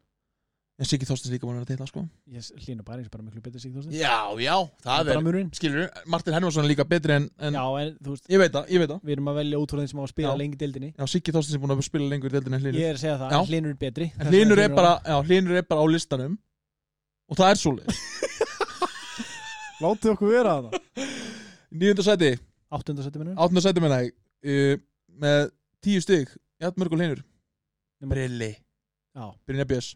S2: en Siggi Þorstins líka búin að vera titla sko
S1: Ég hlýna bara eins bara miklu betur sig þú veist
S2: já, já,
S1: Bara murinn
S2: skilur, Martin Hermansson er líka betri en, en
S1: Já, en þú veist,
S2: ég veit það, ég veit það
S1: við erum að velja út frá þeim sem á að spila
S2: Já.
S1: lengi í deildinni
S2: já, Siggi Þorstins er búin að spila lengur í deildin en
S1: Ég
S2: Hlynur
S1: er að segja það,
S2: Já.
S1: en Hlynur er betri
S2: en Hlynur er bara, já, Hlynur er bara á listanum og það er
S1: <laughs>
S2: svolítið
S1: Láttu okkur vera það
S2: nýjönda sæti,
S1: 8. setjum
S2: áttunda sæti menna ég uh, með tíu stygg, jætt mörg og Hlynur Brilli
S1: Já.
S2: Brynja Björns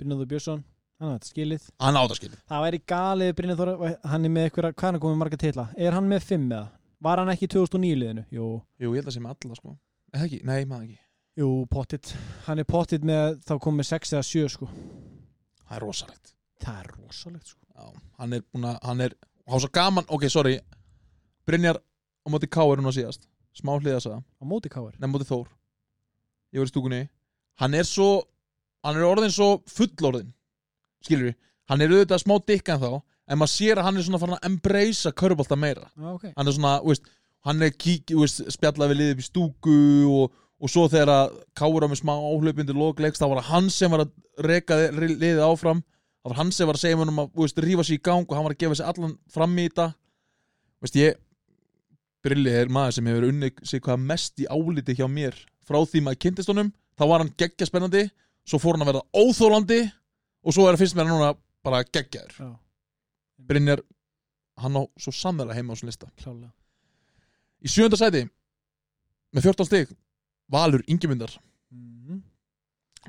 S1: Brynjaður Björnsson, hann á þetta skilið
S2: hann á það skilur
S1: Það væri galið Brynjar Þóra hann er með eitthvað, hvað er hann komið marga titla? Er hann með fimm eða? Var hann ekki í 2009 liðinu? Jú,
S2: jú, ég held að sé með alla sko eða ekki, nei, maður ekki
S1: jú, pottit hann er pottit með, þá komið 6 eða 7 sko.
S2: það er rosalegt
S1: Það er rosalegt sko.
S2: já, hann er búin að, hann er og hann svo gaman, ok, sorry Brynjar á móti K er hún að síðast smá hliðasa
S1: á móti káir
S2: nefn móti Þór ég var í stúkunni hann er svo hann er orðin svo fullorðin skilur við hann er auðvitað smá dikkan þá en maður sér að hann er svona farin að embracea körbalta meira
S1: ah, okay.
S2: hann er svona þú veist, hann er kík þú veist, spjallað við liðið upp í stúku og, og svo þegar að Káur á með smá áhlaupindi lokleiks þá var það hann sem var að reka þi- ri- liðið áfram það var hann sem var að segja mér að þú veist, rífa sér í gang og hann var að gefa sér allan fram í þetta Þú veist ég Brilli er maður sem hefur unnið sig hvað mest í áliti hjá mér frá því maður kynntist honum þá var hann geggja spennandi svo fór hann að verða óþólandi og svo er að finnst mér hann núna bara geggjaður
S1: Já.
S2: Brynjar, hann á svo samverða heima á svona lista
S1: klálega
S2: í sjönda sæti með 14 stig Valur Ingimundar
S1: mm.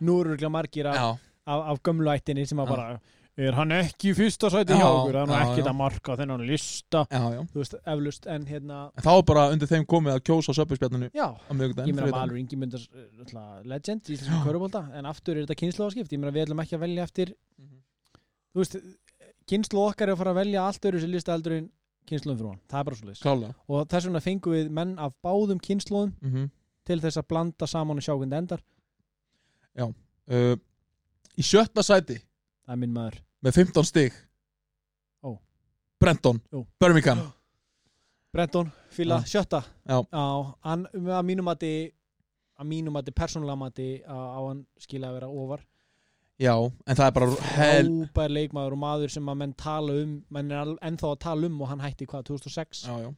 S1: Nú eru örugglega margir af,
S2: já,
S1: af, af gömlu ættinni sem að
S2: Já.
S1: bara er hann ekki í fyrsta sæti hjá
S2: Já,
S1: okkur, hann er
S2: já,
S1: ekki
S2: já.
S1: það marka þennan lista,
S2: já, já.
S1: þú veist, eflust en hérna,
S2: En þá er bara undir þeim komið að kjósa söpjusbjarninu
S1: já
S2: á miðvikudaginn
S1: ég meina
S2: þriðjudaginn.
S1: Valur Ingimundar legend í þessum körubólta, en aftur er þetta kynnslóðaskipt, ég meina við ætlum ekki að velja eftir
S2: Mhm.
S1: þú veist, kynnslóð okkar er að fara að velja allt öðru sér lista eldur en kynnslóðum frá hann, það er bara svo
S2: klálega
S1: og þess vegna fengum við menn af báðum kynnslóðum
S2: mm
S1: til þess að blanda saman og sjá hvernig það endar
S2: uh, í sjötta sæti
S1: það er minn maður,
S2: með 15 stig
S1: Ó.
S2: Brenton,
S1: Jú. <gasps>
S2: Birmingham
S1: Brenton, fíla
S2: Já.
S1: sjötta
S2: Já.
S1: hann, að mínum mati að mínum mati, persónulega mati að á hann skila að vera ofar
S2: já, en það er bara hel
S1: frábær leikmaður og maður sem að menn tala um menn er al- ennþá að tala um og hann hætti hvað 2006
S2: já, já.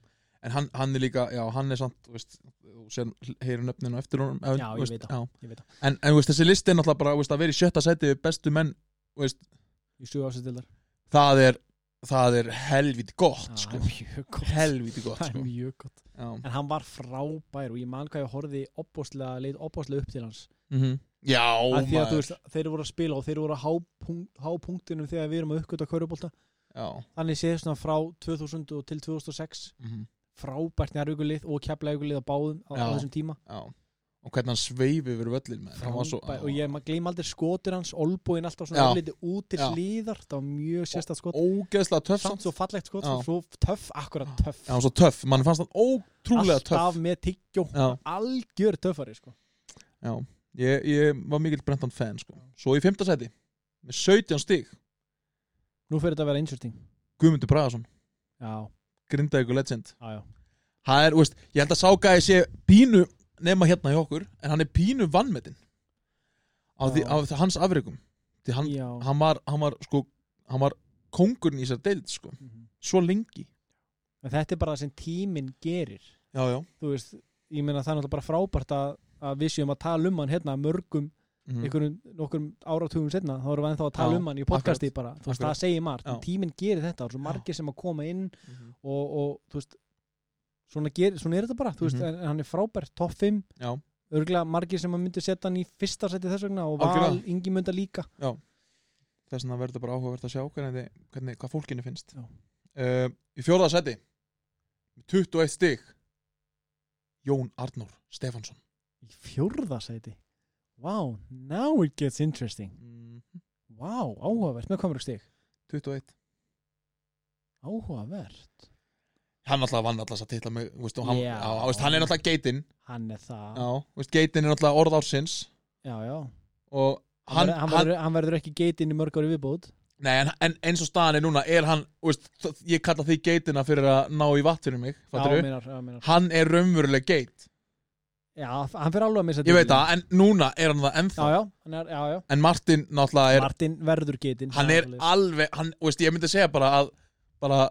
S2: en hann, hann er líka, já, hann er samt þú veist, þú sér heyrir nöfninu á eftir honum ef-
S1: Já, ég
S2: þú veist,
S1: veit það,
S2: já.
S1: ég veit það,
S2: en, en þú veist, þessi listi er náttúrulega bara þú veist, að vera í sjötta sæti við bestu menn þú veist,
S1: í sjöu ásætildar
S2: það er, það er helviti gott
S1: það
S2: sko.
S1: er mjög gott
S2: helviti
S1: <laughs>
S2: gott
S1: það er
S2: sko.
S1: mjög gott
S2: já.
S1: en hann var frábær og ég man hvað ég horfði opbóstlega, leit opbóstlega upp til hans
S2: Mm já,
S1: að því að þú
S2: maður
S1: veist, þeir voru að spila og þeir voru á hápunkt- hápunktinum þegar við erum að uppgöta kaurubólta
S2: já.
S1: þannig séð svona frá 2000 og til 2006
S2: Mm
S1: frábært njárvíkulið og keflavíkulið á báðum á, á
S2: Já.
S1: þessum tíma
S2: já og hvernig hann sveif yfir völlin með hann var svo
S1: Frábær, og ég maður gleym aldrei skotir hans olbúin alltaf svona
S2: Já.
S1: örlítið út til
S2: Já.
S1: slíðar það var mjög sérstætt skot
S2: ógeðslega töff
S1: samt
S2: samt
S1: svo fallegt skot
S2: Já.
S1: svo töff, akkurat töff
S2: já, hann var svo töff, mann fannst hann ótrúlega
S1: alltaf
S2: töff
S1: með tyggjó
S2: já,
S1: algjör töffari sko
S2: já. Ég, ég var mikill Brenton fan sko. svo í fymta seti með 17 stig
S1: nú fyrir þetta að vera insulting
S2: Guðmundur Bragason,
S1: já,
S2: Grindavíkur legend
S1: já, já
S2: hann er, þú veist, ég held að Sáka sé pínu nema hérna hjá okkur en hann er pínu vannmetinn af, því,
S1: Já.
S2: af því- hans afrekum því hann,
S1: já,
S2: hann, var, hann var sko hann var kongurinn í sér deild sko
S1: Mhm.
S2: svo lengi
S1: en þetta er bara það sem tíminn gerir
S2: já, já.
S1: þú veist, ég meina það er náttúrulega bara frábært að, að við séum að tala um hann hérna mörgum,
S2: Mm.
S1: einhverjum, nokkrum áratugum setna, þá erum við ennþá að tala
S2: Já,
S1: um hann í podcasti bara, þú veist,
S2: akkurat.
S1: það segir margt
S2: Já.
S1: en tíminn gerir þetta, það er svo
S2: Já.
S1: margir sem að koma inn og,
S2: Mhm.
S1: og þú veist svona, ger, svona er þetta bara, þú veist,
S2: Mhm.
S1: en, en hann er frábært topp 5,
S2: Já.
S1: örgulega margir sem að myndi setja hann í fyrsta seti þess vegna og val
S2: Algjörlega.
S1: yngi mynda líka
S2: þess vegna verður bara áhugavert að sjá hvernig, þið- hvernig hvað fólkinu finnst
S1: Já.
S2: uh, í fjóraða seti 21 stig Jón Arnór Stefansson
S1: í fjórða seti wow, now it gets interesting wow, áhugavert, með komur stig
S2: 21
S1: áhugavert,
S2: hann alltaf vann alltaf að titla með þú veist, og hann,
S1: Já.
S2: á, á, veist, hann er alltaf geitinn
S1: hann er það
S2: Já, þú veist, geitin er náttúrulega orð ársins
S1: já, já.
S2: og
S1: hann,
S2: hann,
S1: verður- hann,
S2: hann,
S1: verður, hann verður ekki geitinn í mörg ári viðbúð
S2: nei, en, en eins og staðan er núna er hann, þú veist, þ- ég kalla því geitina fyrir að ná í vatn fyrir mig, fattur
S1: já, meinar, já, meinar.
S2: Hann er raunveruleg geit,
S1: já, hann fyrir alveg að missa
S2: ég veit
S1: titilinn.
S2: það, en núna er hann það ennþá
S1: já, já, hann er, já, já.
S2: En Martin náttúrulega er,
S1: Martin verður geitinn
S2: hann
S1: það
S2: er
S1: svoleiðis.
S2: alveg, hann, þú veist, ég myndi segja bara að bara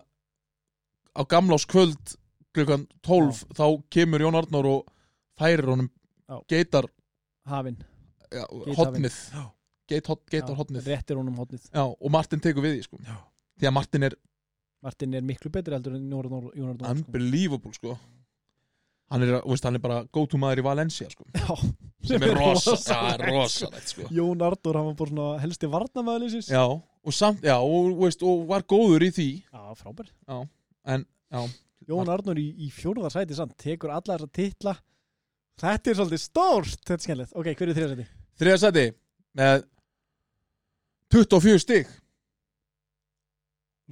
S2: á gamláskvöld klukkan 12 þá kemur Jón Arnór og færir honum
S1: Já.
S2: geitar
S1: hafinn
S2: já,
S1: Geithafinn.
S2: hotnið,
S1: Já.
S2: geit, hot,
S1: Já,
S2: geitar hotnið
S1: réttir honum hotnið
S2: Já, og Martin tekur við því sko
S1: Já.
S2: Því að Martin er
S1: Martin er miklu betri heldur en Jónar Jónar Dómar
S2: unbelievable sko Hann er, þú veist, hann er bara go to maður í Valencia
S1: <laughs>
S2: sko Sem er rosa, það er rosalegt sko
S1: Jón Arnór, hann var bara svona helsti varnamæðlisins
S2: Já, og samt, já, og, þú veist, og var góður í því
S1: já frábær
S2: En, já,
S1: Jón Arnór í, í fjórða sæti samt tekur alla þessa titla Þetta er svolítið stórt, þetta er skemmtilegt Ok, hver er þriða sæti?
S2: þriða sæti með 24 stig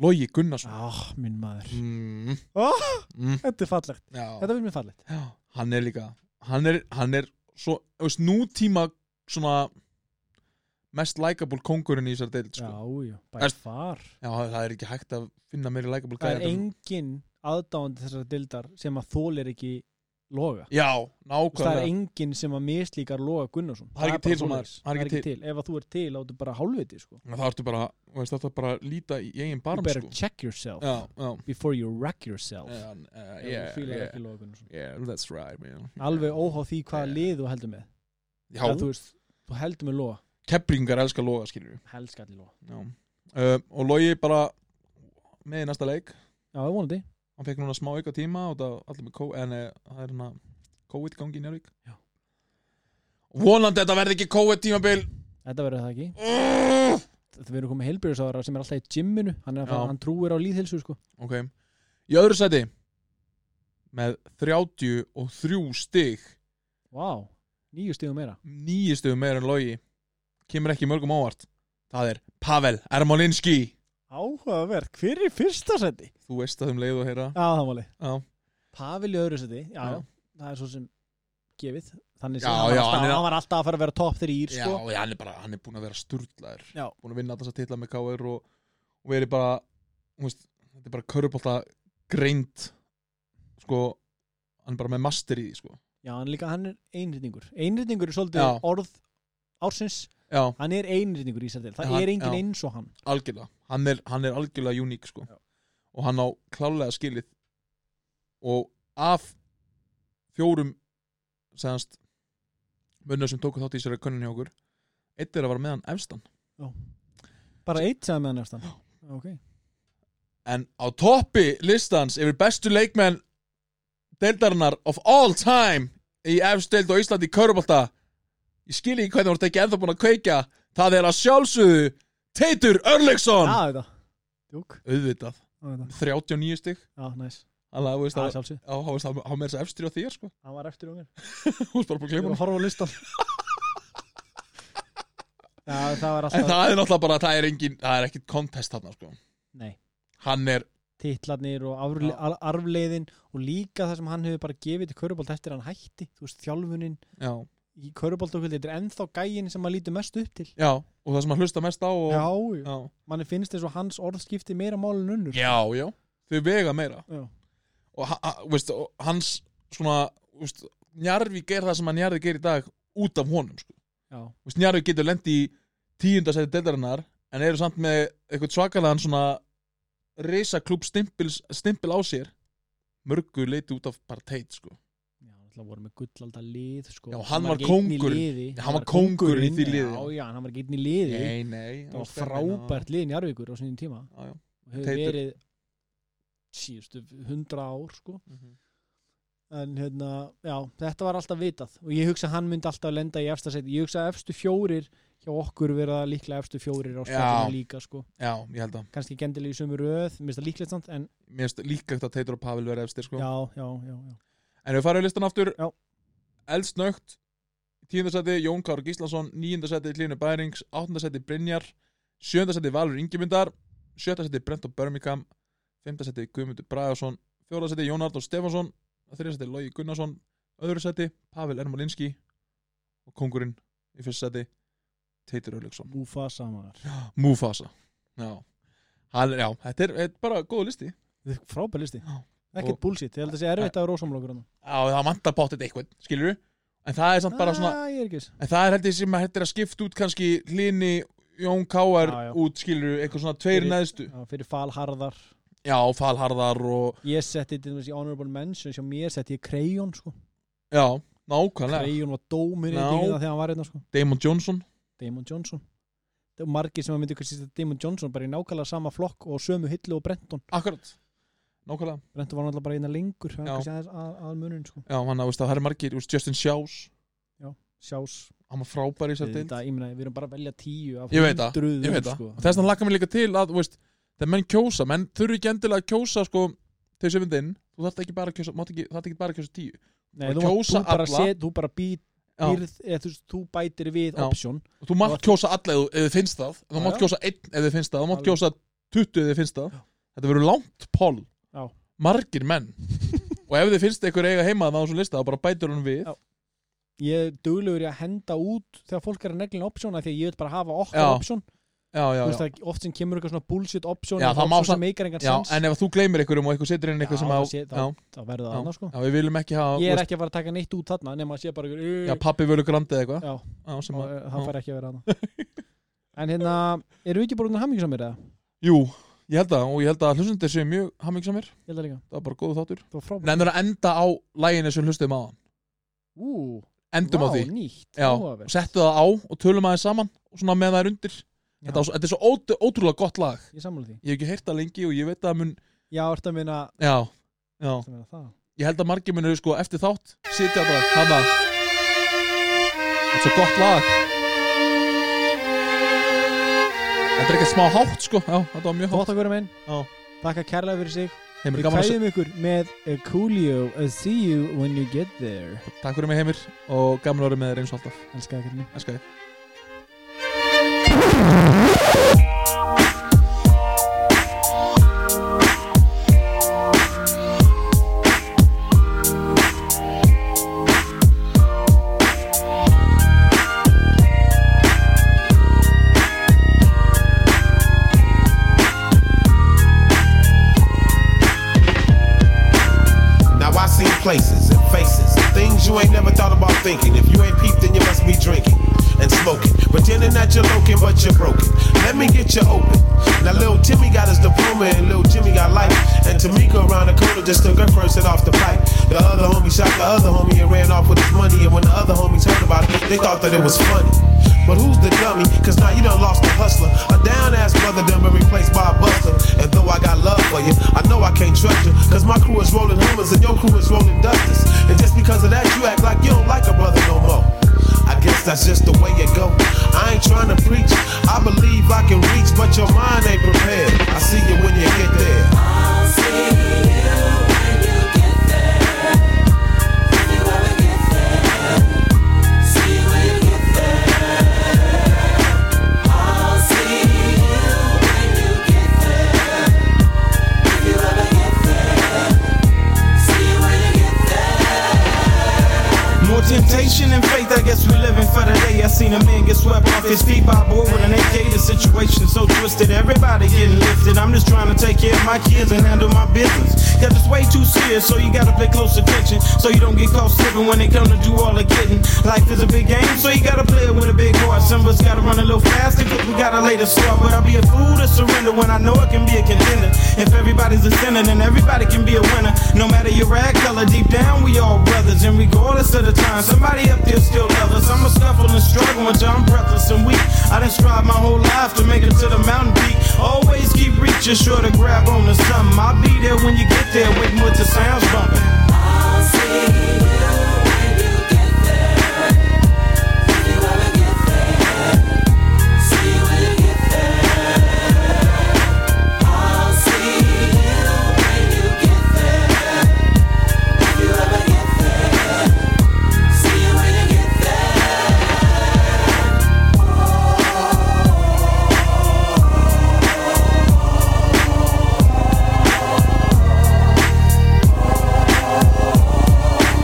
S2: Logi Gunnarsson
S1: Á, Ah, minn maður
S2: mm,
S1: oh,
S2: mm,
S1: Þetta er fallegt,
S2: Já,
S1: þetta finnst mér fallegt
S2: já, hann er líka Hann er, hann er svo, þú veist, nútíma svona mest likeable kongurinn í þessari deild sko.
S1: Já, já, by
S2: Erst-
S1: far
S2: Já, það er ekki hægt að finna meiri likeable
S1: Það er
S2: gæja en-
S1: engin aðdáandi þessara dildar sem að þólir ekki loga
S2: Já,
S1: Þú veist, Það er
S2: nákvæmlega
S1: enginn sem að mislíkar loga Gunnarsson
S2: Það er ekki
S1: bara
S2: til,
S1: svoleiðis.
S2: maður.
S1: Það er ekki til Ef að þú er til, áttu bara hálfviti sko.
S2: Það ertu bara, þú veist, það ertu bara að líta í eigin
S1: You
S2: barm
S1: better
S2: sko.
S1: check yourself
S2: Já, já
S1: before you wreck yourself
S2: Já, uh,
S1: Ef
S2: yeah,
S1: þú fílar
S2: yeah,
S1: ekki loga Gunnarsson
S2: yeah, that's right man.
S1: Alveg óháð því hvaða
S2: Yeah.
S1: lið þú heldur með
S2: Já,
S1: Þegar Þú veist, þú heldur með loga
S2: keplingar elska loga, skilur við
S1: Helst allir loga
S2: uh, Og logi bara með í næsta leik
S1: Já, ég vonandi
S2: hann fekk núna smá auka tíma og það allir með COVID, en eh, það er hérna COVID gangi í Njárvík
S1: Já.
S2: vonandi þetta verði ekki COVID tímabil
S1: Þetta verður það ekki
S2: uh!
S1: Það verður komið heilbjörðsára sem er alltaf í gymminu Hann, er að
S2: Já.
S1: fara- hann trúir á líðhilsu sko
S2: ok, í öðru sæti með 33 stig
S1: Vá, nýju stíðum meira
S2: nýjistu meira en logi kemur ekki mörgum ávart það er Pavel Ermolinski
S1: Áhugaverð, hver er fyrsta seti?
S2: þú veist að um leið og heyra
S1: Já, það máli
S2: já,
S1: Pavel í öðru seti, já,
S2: Já.
S1: það er svo sem gefið Þannig
S2: Já,
S1: sem hann, var alltaf,
S2: já, hann
S1: hann,
S2: er-
S1: var alltaf að fara að vera topp þrýr
S2: já,
S1: sko.
S2: já, hann er bara hann er búin að vera sturglaður
S1: Já.
S2: búin að vinna alltaf að titla með KR og, og verið bara þú veist, þetta er bara körubólta greind sko hann er bara með master í því sko
S1: já, hann líka, hann er einrýtingur Einrýtingur er svolítið
S2: Já.
S1: orð ársins
S2: já,
S1: Hann er einrýtingur í sér til, það
S2: Já, hann-
S1: er engin
S2: já.
S1: eins og hann
S2: algjörlega hann er, hann er algjörlega uník sko
S1: Já.
S2: og hann á klálega skilið og af fjórum segast munna sem tóku þátt í sér að könnin hjá okkur eitt er að vara með hann efstan
S1: Bara eitt sem með hann efstan
S2: Já.
S1: okay.
S2: en á toppi listans yfir bestu leikmenn deildarinnar of all time í efstdeild og Íslandi í Körbólta ég skil ekki hvernig voru ekki ennþá búin að kveika það er að sjálfsögðu Teitur Örleksson
S1: Já, þetta Júk,
S2: auðvitað,
S1: já, þetta
S2: 39 stig
S1: Já, næs
S2: Alla, þú veist,
S1: Það
S2: það
S1: er sjálfsög,
S2: Já, hann var- hann var með þess að efstri á þér sko <laughs>
S1: hann var eftir um mér
S2: Þú veist bara búin að
S1: Ég
S2: gleyma
S1: var að
S2: hann
S1: horfa á listan <laughs> Já, það var
S2: En
S1: alltaf
S2: það er náttúrulega bara, það er engin, það er ekkit contest þarna sko
S1: Nei,
S2: Hann er,
S1: titlarnir og arfle, ar, arfleiðin og líka það sem hann hefur bara gefið til Körubolt eftir að hann hætti, þú veist, þjálfunin
S2: já,
S1: í Körubolt okkur, þetta er ennþá gæin sem maður lítur mest upp til
S2: já Og það sem hann hlusta mest á og,
S1: Já,
S2: já,
S1: manni finnst þess að hans orð skipti meira mál en unnur
S2: já, já. Þau vega meira
S1: Já.
S2: Og, ha- ha- veist, og hans svona, veist, Njarvi ger það sem hann Njarvi ger í dag út af honum sko
S1: Já.
S2: veist, Njarvi getur lendi í tíundasæti deildarinnar en eru samt með eitthvað svakalaðan svona reisaklúb stimpil, stimpil á sér mörgu leiti út af bara teit sko
S1: Já, alltaf voru með gullaldar lið sko.
S2: Já, hann
S1: Hann
S2: var
S1: ekki einn í
S2: kóngurinn.
S1: liði.
S2: Já, hann var kóngurinn í því liði.
S1: Já, já, hann var ekki einn í liði
S2: Nei, nei
S1: Það var frábært liðin í Arvíkur á sinni tíma
S2: Já, já.
S1: og hefur
S2: Teitur.
S1: verið síðustu hundra ár sko. en hérna, já, þetta var alltaf vitað og ég hugsa að hann myndi alltaf lenda í efsta seti ég hugsa að efstu fjórir hjá okkur verða líklega efstu fjórir á spjallinu líka sko.
S2: Já, ég held að
S1: kannski gendilega í sömu röð mér finnst það líklegt samt en
S2: Mér finnst líka eftir að Teitur og Pavel verið efstir sko.
S1: já, já, já, já.
S2: En við farum listan aftur
S1: Já.
S2: Eldsnögt Tíundasæti Jón Kár Gíslason Níundasæti Klínu Bærings Áttundasæti Brynjar Sjöndasæti Valur Ingimundar Sjöndasæti Brent og Birmingham Femtasæti Guðmundur Bragason Fjórðasæti Jón Arnór Stefansson Þriðasæti Lógi Gunnarsson Öðru sæti Pavel Ermalinski Og kongurinn í fyrsta sæti Teitur Örlöksson
S1: Múfa samar
S2: Mufasa Já, Hann, er- já þetta er, er bara góð listi
S1: frábæð listi,
S2: Já.
S1: ekkert
S2: Og-
S1: bullshit ég held að sé erfitt að rósamlokur hann
S2: Já, það vantar bóttið eitthvað, skilur En það er samt bara svona
S1: ah, ég er ekki viss.
S2: En það er heldur sem að hættir að skipta út kannski Hlini, Jón Káar
S1: Já, já.
S2: út skilur eitthvað svona tveir
S1: Fyrir-
S2: neðstu
S1: Já, fyrir falharðar
S2: Já, falharðar og
S1: ég setti til dæmis í honorable mention sem mér setti ég Krejón sko.
S2: Já, nákvæmlega
S1: Krejón var dómur
S2: Já.
S1: þegar hann var einna sko.
S2: Damon Johnson
S1: Damon Johnson það er margir sem að myndi hvað sýst að Damon Johnson bara í nákvæmlega sama flokk og sömu hillu og Brenton
S2: Akkurat Nákvæmlega
S1: Brenton var náttúrulega bara einna lengur það
S2: Já.
S1: var kannski aðeins að, að munin sko.
S2: Já, hann að veist, það er margir úst, Justin Sjás
S1: sjás
S2: Hann var frábær í sér til
S1: þetta, ég meina, við erum bara að velja tíu af
S2: Ég veit það,
S1: hundruðum,
S2: Ég veit það
S1: sko.
S2: Og Þess vegna lakka mér líka til að þú veist, Þegar menn kjósa Menn þurfi ekki endilega að kjósa sko Þegar sem við þinn Þú þarft ekki bara að kjósa mátt ekki, Þarft ekki bara að kjósa tíu
S1: Nei,
S2: Bara
S1: þú, mátt-
S2: kjósa
S1: þú bara,
S2: alla.
S1: set, þú bara býr,
S2: Já,
S1: eða, þú, veist, þú bætir við
S2: Já.
S1: option
S2: og Þú mátt kjósa alla ef þú- ef þið finnst það Þú
S1: Já,
S2: mátt
S1: já.
S2: kjósa einn ef þið finnst það Þú mátt
S1: Alveg.
S2: kjósa 20 ef þið finnst það Þetta verður langt pól
S1: Já.
S2: Margir
S1: <laughs>
S2: menn Og ef þið finnst einhver eiga heima það á svo lista þá bara bætur hún við
S1: Já. ég er duglegur í að henda út þegar fólk er að neglina option af því að ég vil bara hafa okkar
S2: Já,
S1: option
S2: Já, já,
S1: Þú
S2: já,
S1: veist, það, oft sem kemur eitthvað svona bullshit option
S2: Já,
S1: eða
S2: það má
S1: option
S2: samt-
S1: sem meikar engan
S2: já
S1: sens
S2: En ef þú gleymir einhverjum og einhver setur inn
S1: Já,
S2: einhver sem á
S1: það sé-
S2: já,
S1: þá- þá verður það
S2: Já.
S1: annars sko
S2: já, við viljum ekki hafa
S1: ég er
S2: þú veist,
S1: ekki að fara að taka neitt út þarna nema að sé bara ykkur,
S2: Já, pappi völu grandi eða eitthvað
S1: já,
S2: Já, sem
S1: og,
S2: að-
S1: uh, það fær ekki að vera hana <laughs> en hérna, eru við ekki bara um hamingisamir eða?
S2: Jú, ég held að Og ég held að hlustundir séu mjög hammingsamir
S1: ég held að líka,
S2: Það var bara góðu þáttur
S1: það var frábært
S2: Nefnir að enda á læginu sem hlustum á
S1: ú,
S2: Endum á því
S1: nýtt,
S2: Já,
S1: áhugavert.
S2: settu það á og tölum aðeins saman og svona með það er undir
S1: Já.
S2: þetta, á- þetta er svo ótrú, ótrúlega gott lag
S1: ég samla því
S2: ég hef ekki heyrt það lengi og ég veit að það mun
S1: Já, ertu að minna,
S2: já, já
S1: ertu að minna það?
S2: ég held að margir munur sko eftir þátt sitja bara hana þetta er svo gott lag þetta er ekkert smá hátt sko já, þetta var mjög hátt
S1: Gott að hverju minn,
S2: já.
S1: þakka kærlega fyrir sig
S2: Heimir,
S1: Við
S2: gaman að
S1: kæðum ykkur með uh, Coolio uh, See you when you get there
S2: se- takk fyrir mig Heimir og gaman að vera með þér eins og alltaf
S1: Elskar ekki mig
S2: Elskar þig.
S3: Now I see places and faces, things you ain't never thought about thinking. If you ain't peeped, then you must be drinking and smoking, pretending that you're looking, but you're broken. Let me get you open. Now little Timmy got his diploma and little Jimmy got life, and Tamika around the corner just took her person off the pipe. The other homie shot the other homie and ran off with his money, and when the other homies heard about it, they thought that it was funny. But who's the dummy? Cause now you done lost a hustler. A down ass brother done been replaced by a buster. And though I got love for you, I know I can't trust you. Cause my crew is rolling homers and your crew is rolling dusters. And just because of that, you act like you don't like a brother no more. I guess that's just the way it go. I ain't trying to preach. I believe I can reach, but your mind ain't prepared. I see you when you get there.
S4: More temptation and faith, I guess we living for the day. I seen a man get swept off his feet by a boy with an AK. The situation so twisted, everybody getting lifted. I'm just trying to take care of my kids and handle my business. Cause it's way too serious, so you gotta pay close attention. So you don't get caught slipping when they come to do all the getting. Life is a big game, so you gotta play it with a big heart. Some of us gotta run a little faster, cause we gotta lay the start. But I'll be a fool to surrender when I know I can be a contender. If everybody's a sinner, then everybody can be a winner. No matter your rag color, deep down we all brothers. And regardless of the time, somebody up there still love us. I'm a scuffle and struggle until I'm breathless and weak. I done strive my whole life to make it to the mountain peak. Always keep reaching, sure to grab on to something. I'll be there when you get there, waiting with the sounds bumping.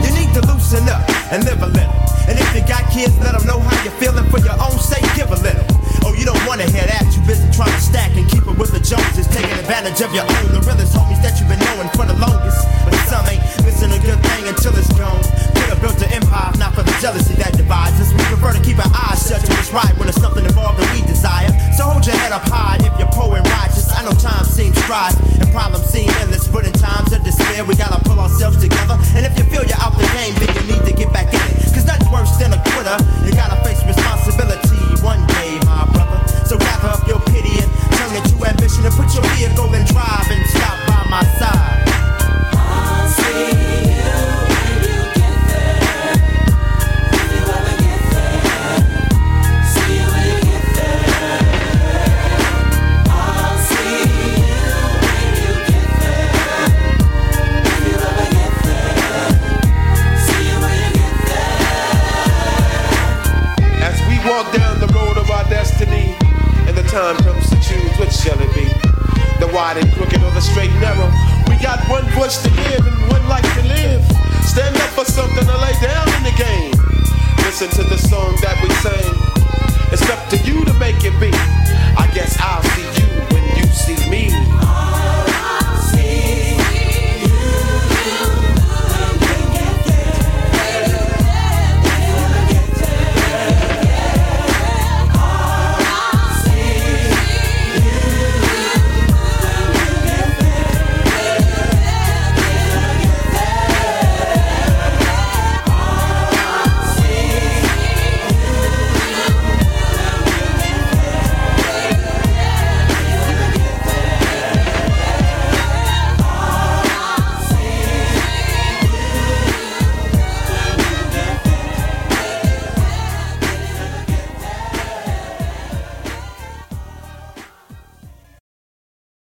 S3: You need to loosen up and live a little. And if you got kids, let them know how you're feeling for your own sake. Give a little. Oh, you don't want to hear that. You busy trying to stack and keep it with the Joneses, taking advantage of your own